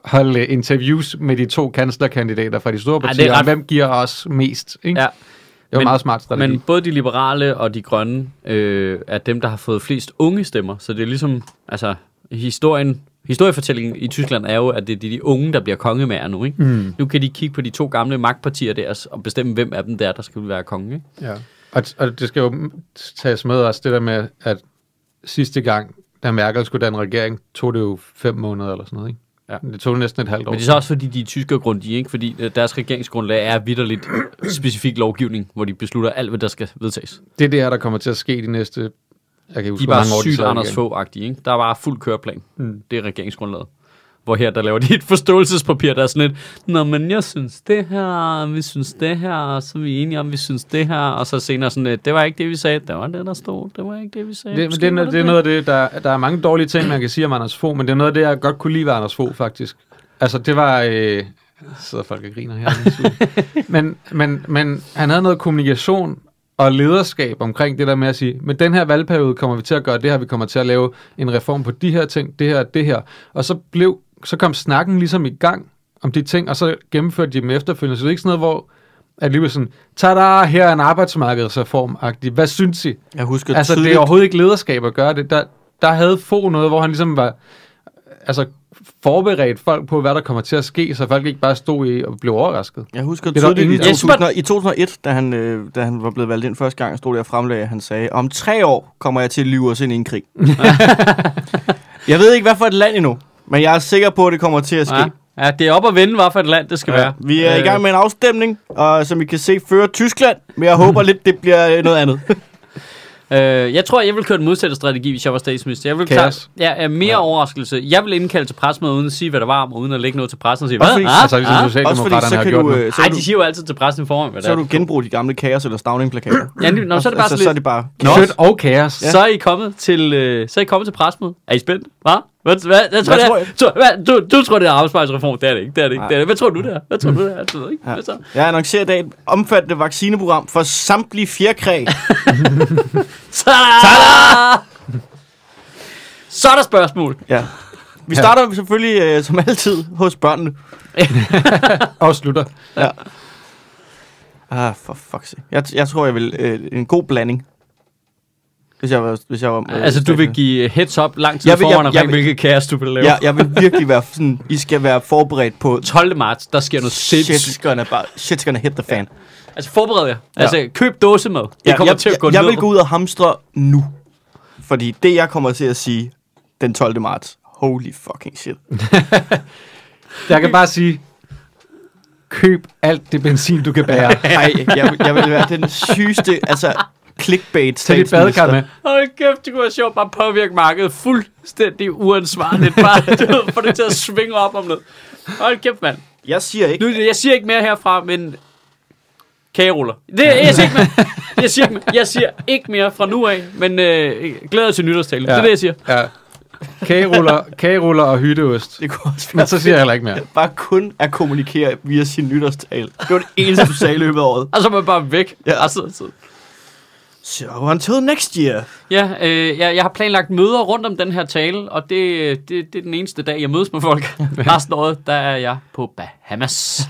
S2: holde interviews med de to kanslerkandidater fra de store
S1: Ej, det er
S2: partier,
S1: ret-
S2: Ej, ret... hvem giver os mest, ikke?
S1: Ja.
S2: Det var
S1: Men-
S2: men, meget smart strategi.
S1: Men
S2: Men,
S1: både de liberale og de grønne øh, er dem, der har fået flest unge stemmer. Så det er ligesom, altså, historien, historiefortællingen i Tyskland er jo, at det er de, de unge, der bliver kongemager nu. Ikke? Mm. Nu kan de kigge på de to gamle magtpartier der og bestemme, hvem af dem der, er, der skal være konge. Ikke?
S2: ja. og, og det skal jo tages med også det der med, at sidste gang, da Merkel skulle danne regering, tog det jo fem måneder eller sådan noget, ikke?
S1: Ja.
S2: Det tog næsten et halvt år.
S1: Men det er så også, fordi de er tyske og grundige, ikke? fordi øh, deres regeringsgrundlag er vidderligt specifik lovgivning, hvor de beslutter alt, hvad der skal vedtages.
S2: det er det her, der kommer til at ske de næste... Jeg kan ikke
S1: De
S2: huske,
S1: er
S2: hvor mange år
S1: bare
S2: de
S1: sygt
S2: sad i
S1: Anders
S2: regering.
S1: Fogh-agtige. Ikke? Der var fuld køreplan.
S2: Mm.
S1: Det er regeringsgrundlaget. Hvor her, der laver de et forståelsespapir, der er sådan lidt, Nå, men jeg synes det her, vi synes det her, og så er vi enige om, vi synes det her, og så senere sådan lidt, det var ikke det, vi sagde, det var det, der stod, det var ikke det, vi sagde.
S2: Det, men
S1: Måske
S2: det, er,
S1: var
S2: noget- det er noget af det, der, der er mange dårlige ting, man kan sige om Anders Fogh, men det er noget af det, jeg godt kunne lide ved Anders Fogh, faktisk. Altså, det var... Øh, så sidder folk og griner her. det er sygt. men, men, men han havde noget kommunikation og lederskab omkring det der med at sige, med den her valgperiode kommer vi til at gøre det her, vi kommer til at lave en reform på de her ting, det her og det her. Og så, blev, så kom snakken ligesom i gang om de ting, og så gennemførte de dem efterfølgende. Så det er ikke sådan noget, hvor at lige pludselig sådan, tada, her er en arbejdsmarkedsreform -agtig. Hvad synes I?
S3: Jeg husker
S2: Altså, det er overhovedet ikke lederskab at gøre det. Der, der havde få noget, hvor han ligesom var altså, forberedt folk på, hvad der kommer til at ske, så folk ikke bare stod i og blev overrasket.
S3: Jeg husker
S2: Det er der
S3: tydeligt i,
S2: ingen-
S3: 2000, i 2001, da han, øh, da han var blevet valgt ind første gang, stod der og fremlagde, at han sagde, om tre år kommer jeg til at lyve os ind i en krig. jeg ved ikke, hvad for et land endnu, men jeg er sikker på, at det kommer til at ske.
S1: Ja, ja, det er op at vende, hvad for et land det skal ja. være.
S3: Vi er øh. i gang med en afstemning, og som I kan se, fører Tyskland, men jeg håber lidt, det bliver øh, noget andet.
S1: Øh, jeg tror, jeg ville køre den modsatte strategi, hvis jeg var statsminister. Jeg ville
S2: Kaos.
S1: ja, ja, mere ja. overraskelse. Jeg vil indkalde til pressemøde, uden at sige, hvad der var om, og uden at lægge noget til pressen og sige, hvad?
S3: Også fordi-
S1: ah,
S2: altså, ligesom
S1: ah.
S3: Også fordi,
S2: Socialdemokraterne
S3: så
S2: har
S3: kan,
S2: gjort
S3: du,
S2: nu.
S3: øh, så,
S1: Ej,
S3: kan du,
S1: de siger jo altid til pressen i forhånd, hvad
S3: så
S1: der er.
S3: kan du genbruge de gamle kaos- eller stavningplakater.
S1: Ja, nu, nå, så er det bare sådan
S3: altså,
S1: lidt,
S3: så er det bare...
S1: Nå.
S2: Shit og kaos.
S1: Ja. Så er I kommet til, øh, så er I kommet til pressemødet. Er I spændt? Hva? Hvad, hvad, hvad, tror, hvad,
S3: Hvad tror
S1: tror,
S3: jeg?
S1: tror hvad, du, du tror, det er arbejdsmarkedsreform. Det er det ikke. Det er det ikke.
S3: Nej.
S1: Det er det. Hvad tror du, det er? Hvad tror du, det er? Det ved jeg ikke.
S3: Ja.
S1: Hvad så?
S3: Jeg annoncerer i dag et omfattende vaccineprogram for samtlige fjerkræ.
S1: Tada! Så er der spørgsmål.
S3: ja. Vi starter selvfølgelig, øh, som altid, hos børnene.
S2: Og slutter.
S3: Ah, for fuck's sake. Jeg, jeg tror, jeg vil øh, en god blanding. Hvis jeg var... Hvis jeg var øh,
S1: Altså, du vil
S3: statsminister.
S1: give heads up lang tid
S3: Jeg vil- jeg-
S1: foran omkring,
S3: jeg vil-
S1: hvilket kaos du vil lave.
S3: Ja, jeg vil virkelig være sådan... I skal være forberedt på...
S1: 12. marts, der sker noget
S3: Shit's
S1: sindssygt.
S3: gonna, bare, shit's gonna hit the fan.
S1: Altså, forbered jer. Altså, køb dåsemad. Det
S3: Ja,
S1: kommer
S3: jeg,
S1: til at gå
S3: jeg,
S1: ned.
S3: jeg vil gå ud og hamstre nu. Fordi det, jeg kommer til at sige den 12. marts, holy fucking shit.
S2: Jeg kan bare sige, køb alt det benzin, du kan bære.
S3: Nej, jeg, jeg vil være den sygeste, altså clickbait
S2: Tag dit badekar med.
S1: Hold kæft, det kunne være sjovt bare at påvirke markedet fuldstændig uansvarligt. Bare du ved, få det til at svinge op om noget. Hold kæft, mand.
S3: Jeg siger ikke,
S1: Nu, jeg siger ikke mere herfra, men kageruller. Det, jeg, siger ikke mere. jeg, siger ikke mere. jeg siger ikke mere fra nu af, men øh, glæder til nytårstalen. Ja. Det er det, jeg siger.
S2: Ja. Kageruller, kageruller og hytteost.
S3: det kunne også
S2: Men
S3: være
S2: så siger jeg heller ikke mere.
S3: bare kun at kommunikere via sin nytårstale. Det var det eneste, du sagde i løbet af året.
S1: Og så er man bare væk.
S3: Ja.
S1: Ja, altså, så.
S3: So until next year.
S1: ja øh, jeg, jeg har planlagt møder rundt om den her tale, og det, det, det er den eneste dag, jeg mødes med folk. Resten af året, der er jeg på Bahamas.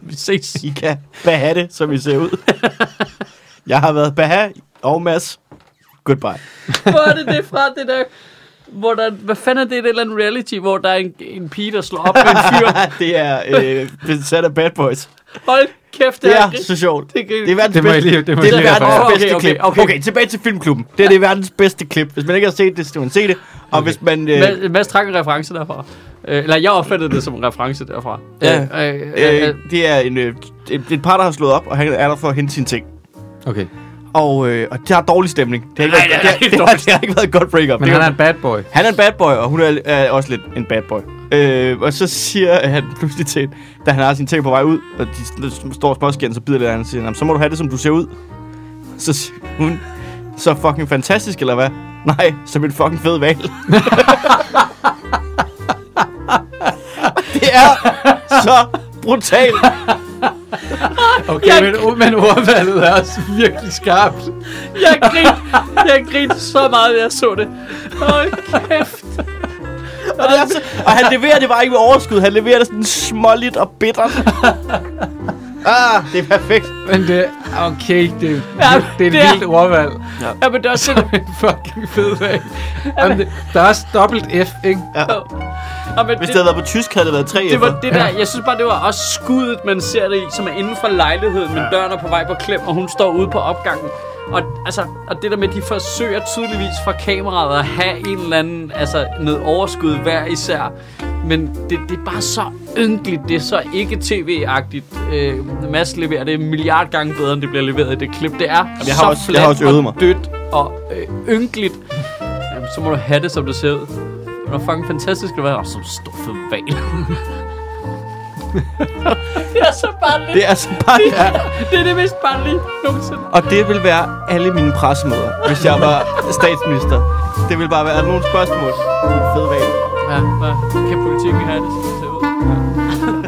S1: Vi ses.
S3: I kan beha det, som I ser ud. Jeg har været beha og Mads. Goodbye.
S1: Hvor er det det fra, det der... Hvor der, hvad fanden er det, et eller andet reality, hvor der er en, en pige, der slår op med en fyr?
S3: det er øh, besat af Bad Boys.
S1: Hold kæft, det
S3: Det
S1: er,
S3: er
S1: gri-
S3: så sjovt.
S1: det er gri-
S3: Det er verdens
S2: Det må jeg
S3: bedste,
S2: lige- det må
S3: det
S2: jeg
S3: er
S2: lige
S3: verdens
S1: referere.
S3: bedste
S1: Okay,
S3: klip.
S1: okay, okay.
S3: okay, tilbage til filmklubben. Det er det verdens bedste klip. Hvis man ikke har set det, så skal man se det. Og okay. hvis man... Øh,
S1: Mads, Mads trak en reference derfra. Øh, eller jeg opfattede det som en reference derfra.
S3: Ja.
S1: Øh, øh, øh, øh,
S3: øh, det er en, øh, et, et par, der har slået op, og han er der for at hente sine ting.
S2: Okay.
S3: Og, øh, og det har dårlig stemning. Det har ikke,
S1: Ej,
S3: været,
S1: det er
S3: det, har,
S1: rigtig
S3: det, har, det har ikke været et godt breakup.
S2: Men
S3: Det
S2: han er
S3: kan-
S2: en bad boy.
S3: han er en bad boy, og hun er øh, også lidt en bad boy. Øh, og så siger han pludselig til, hende, da han har sine ting på vej ud, og de s- står og småskænder, så bider lidt af hende og siger, "Nå, men så må du have det, som du ser ud. Så siger hun, så fucking fantastisk, eller hvad? Nej, som en fucking fed val. det er så brutalt.
S2: Okay, men, men ordvalget er også virkelig skarpt.
S1: Jeg grinte, jeg grinte så meget, da jeg så det. Hold kæft.
S3: Og, det er så, og han leverer det bare ikke med overskud. Han leverer det sådan småligt og bittert. Ah, det er perfekt.
S2: Men det okay, det, det, det er et
S1: det er-
S2: vildt ordvalg.
S1: Ja, men det er også sådan,
S2: En fucking fed dag. Jamen, det, der er også dobbelt F, ikke?
S3: Ja.
S1: ja, men
S3: Hvis det
S1: det,
S3: havde været på tysk, havde det været 3
S1: det, var det der, jeg synes bare, det var også skuddet, man ser det i, som er inden for lejligheden, men døren er på vej på klem, og hun står ude på opgangen. Og, altså, og det der med, at de forsøger tydeligvis fra kameraet at have en eller anden, altså noget overskud hver især. Men det, det er bare så ynkeligt, det er så ikke tv-agtigt. Øh, Mads leverer det en milliard gange bedre, end det bliver leveret i det klip. Det er Jamen,
S3: jeg har
S1: så
S3: også- jeg
S1: fladt
S3: har også øvet
S1: og
S3: mig.
S1: dødt og øh, ynkeligt. Jamen, så må du have det, som det ser ud. Det var fucking fantastisk at være oh, som stor fed val. det er så barnligt. Det,
S3: Det er så bare... Ja.
S1: det er det mest barnlige nogensinde.
S3: Og det vil være alle mine pressemøder, hvis jeg var statsminister. Det vil bare være, er der nogle spørgsmål? Fed regel.
S1: Ja, hvad kan politikken have det, som det ser ud?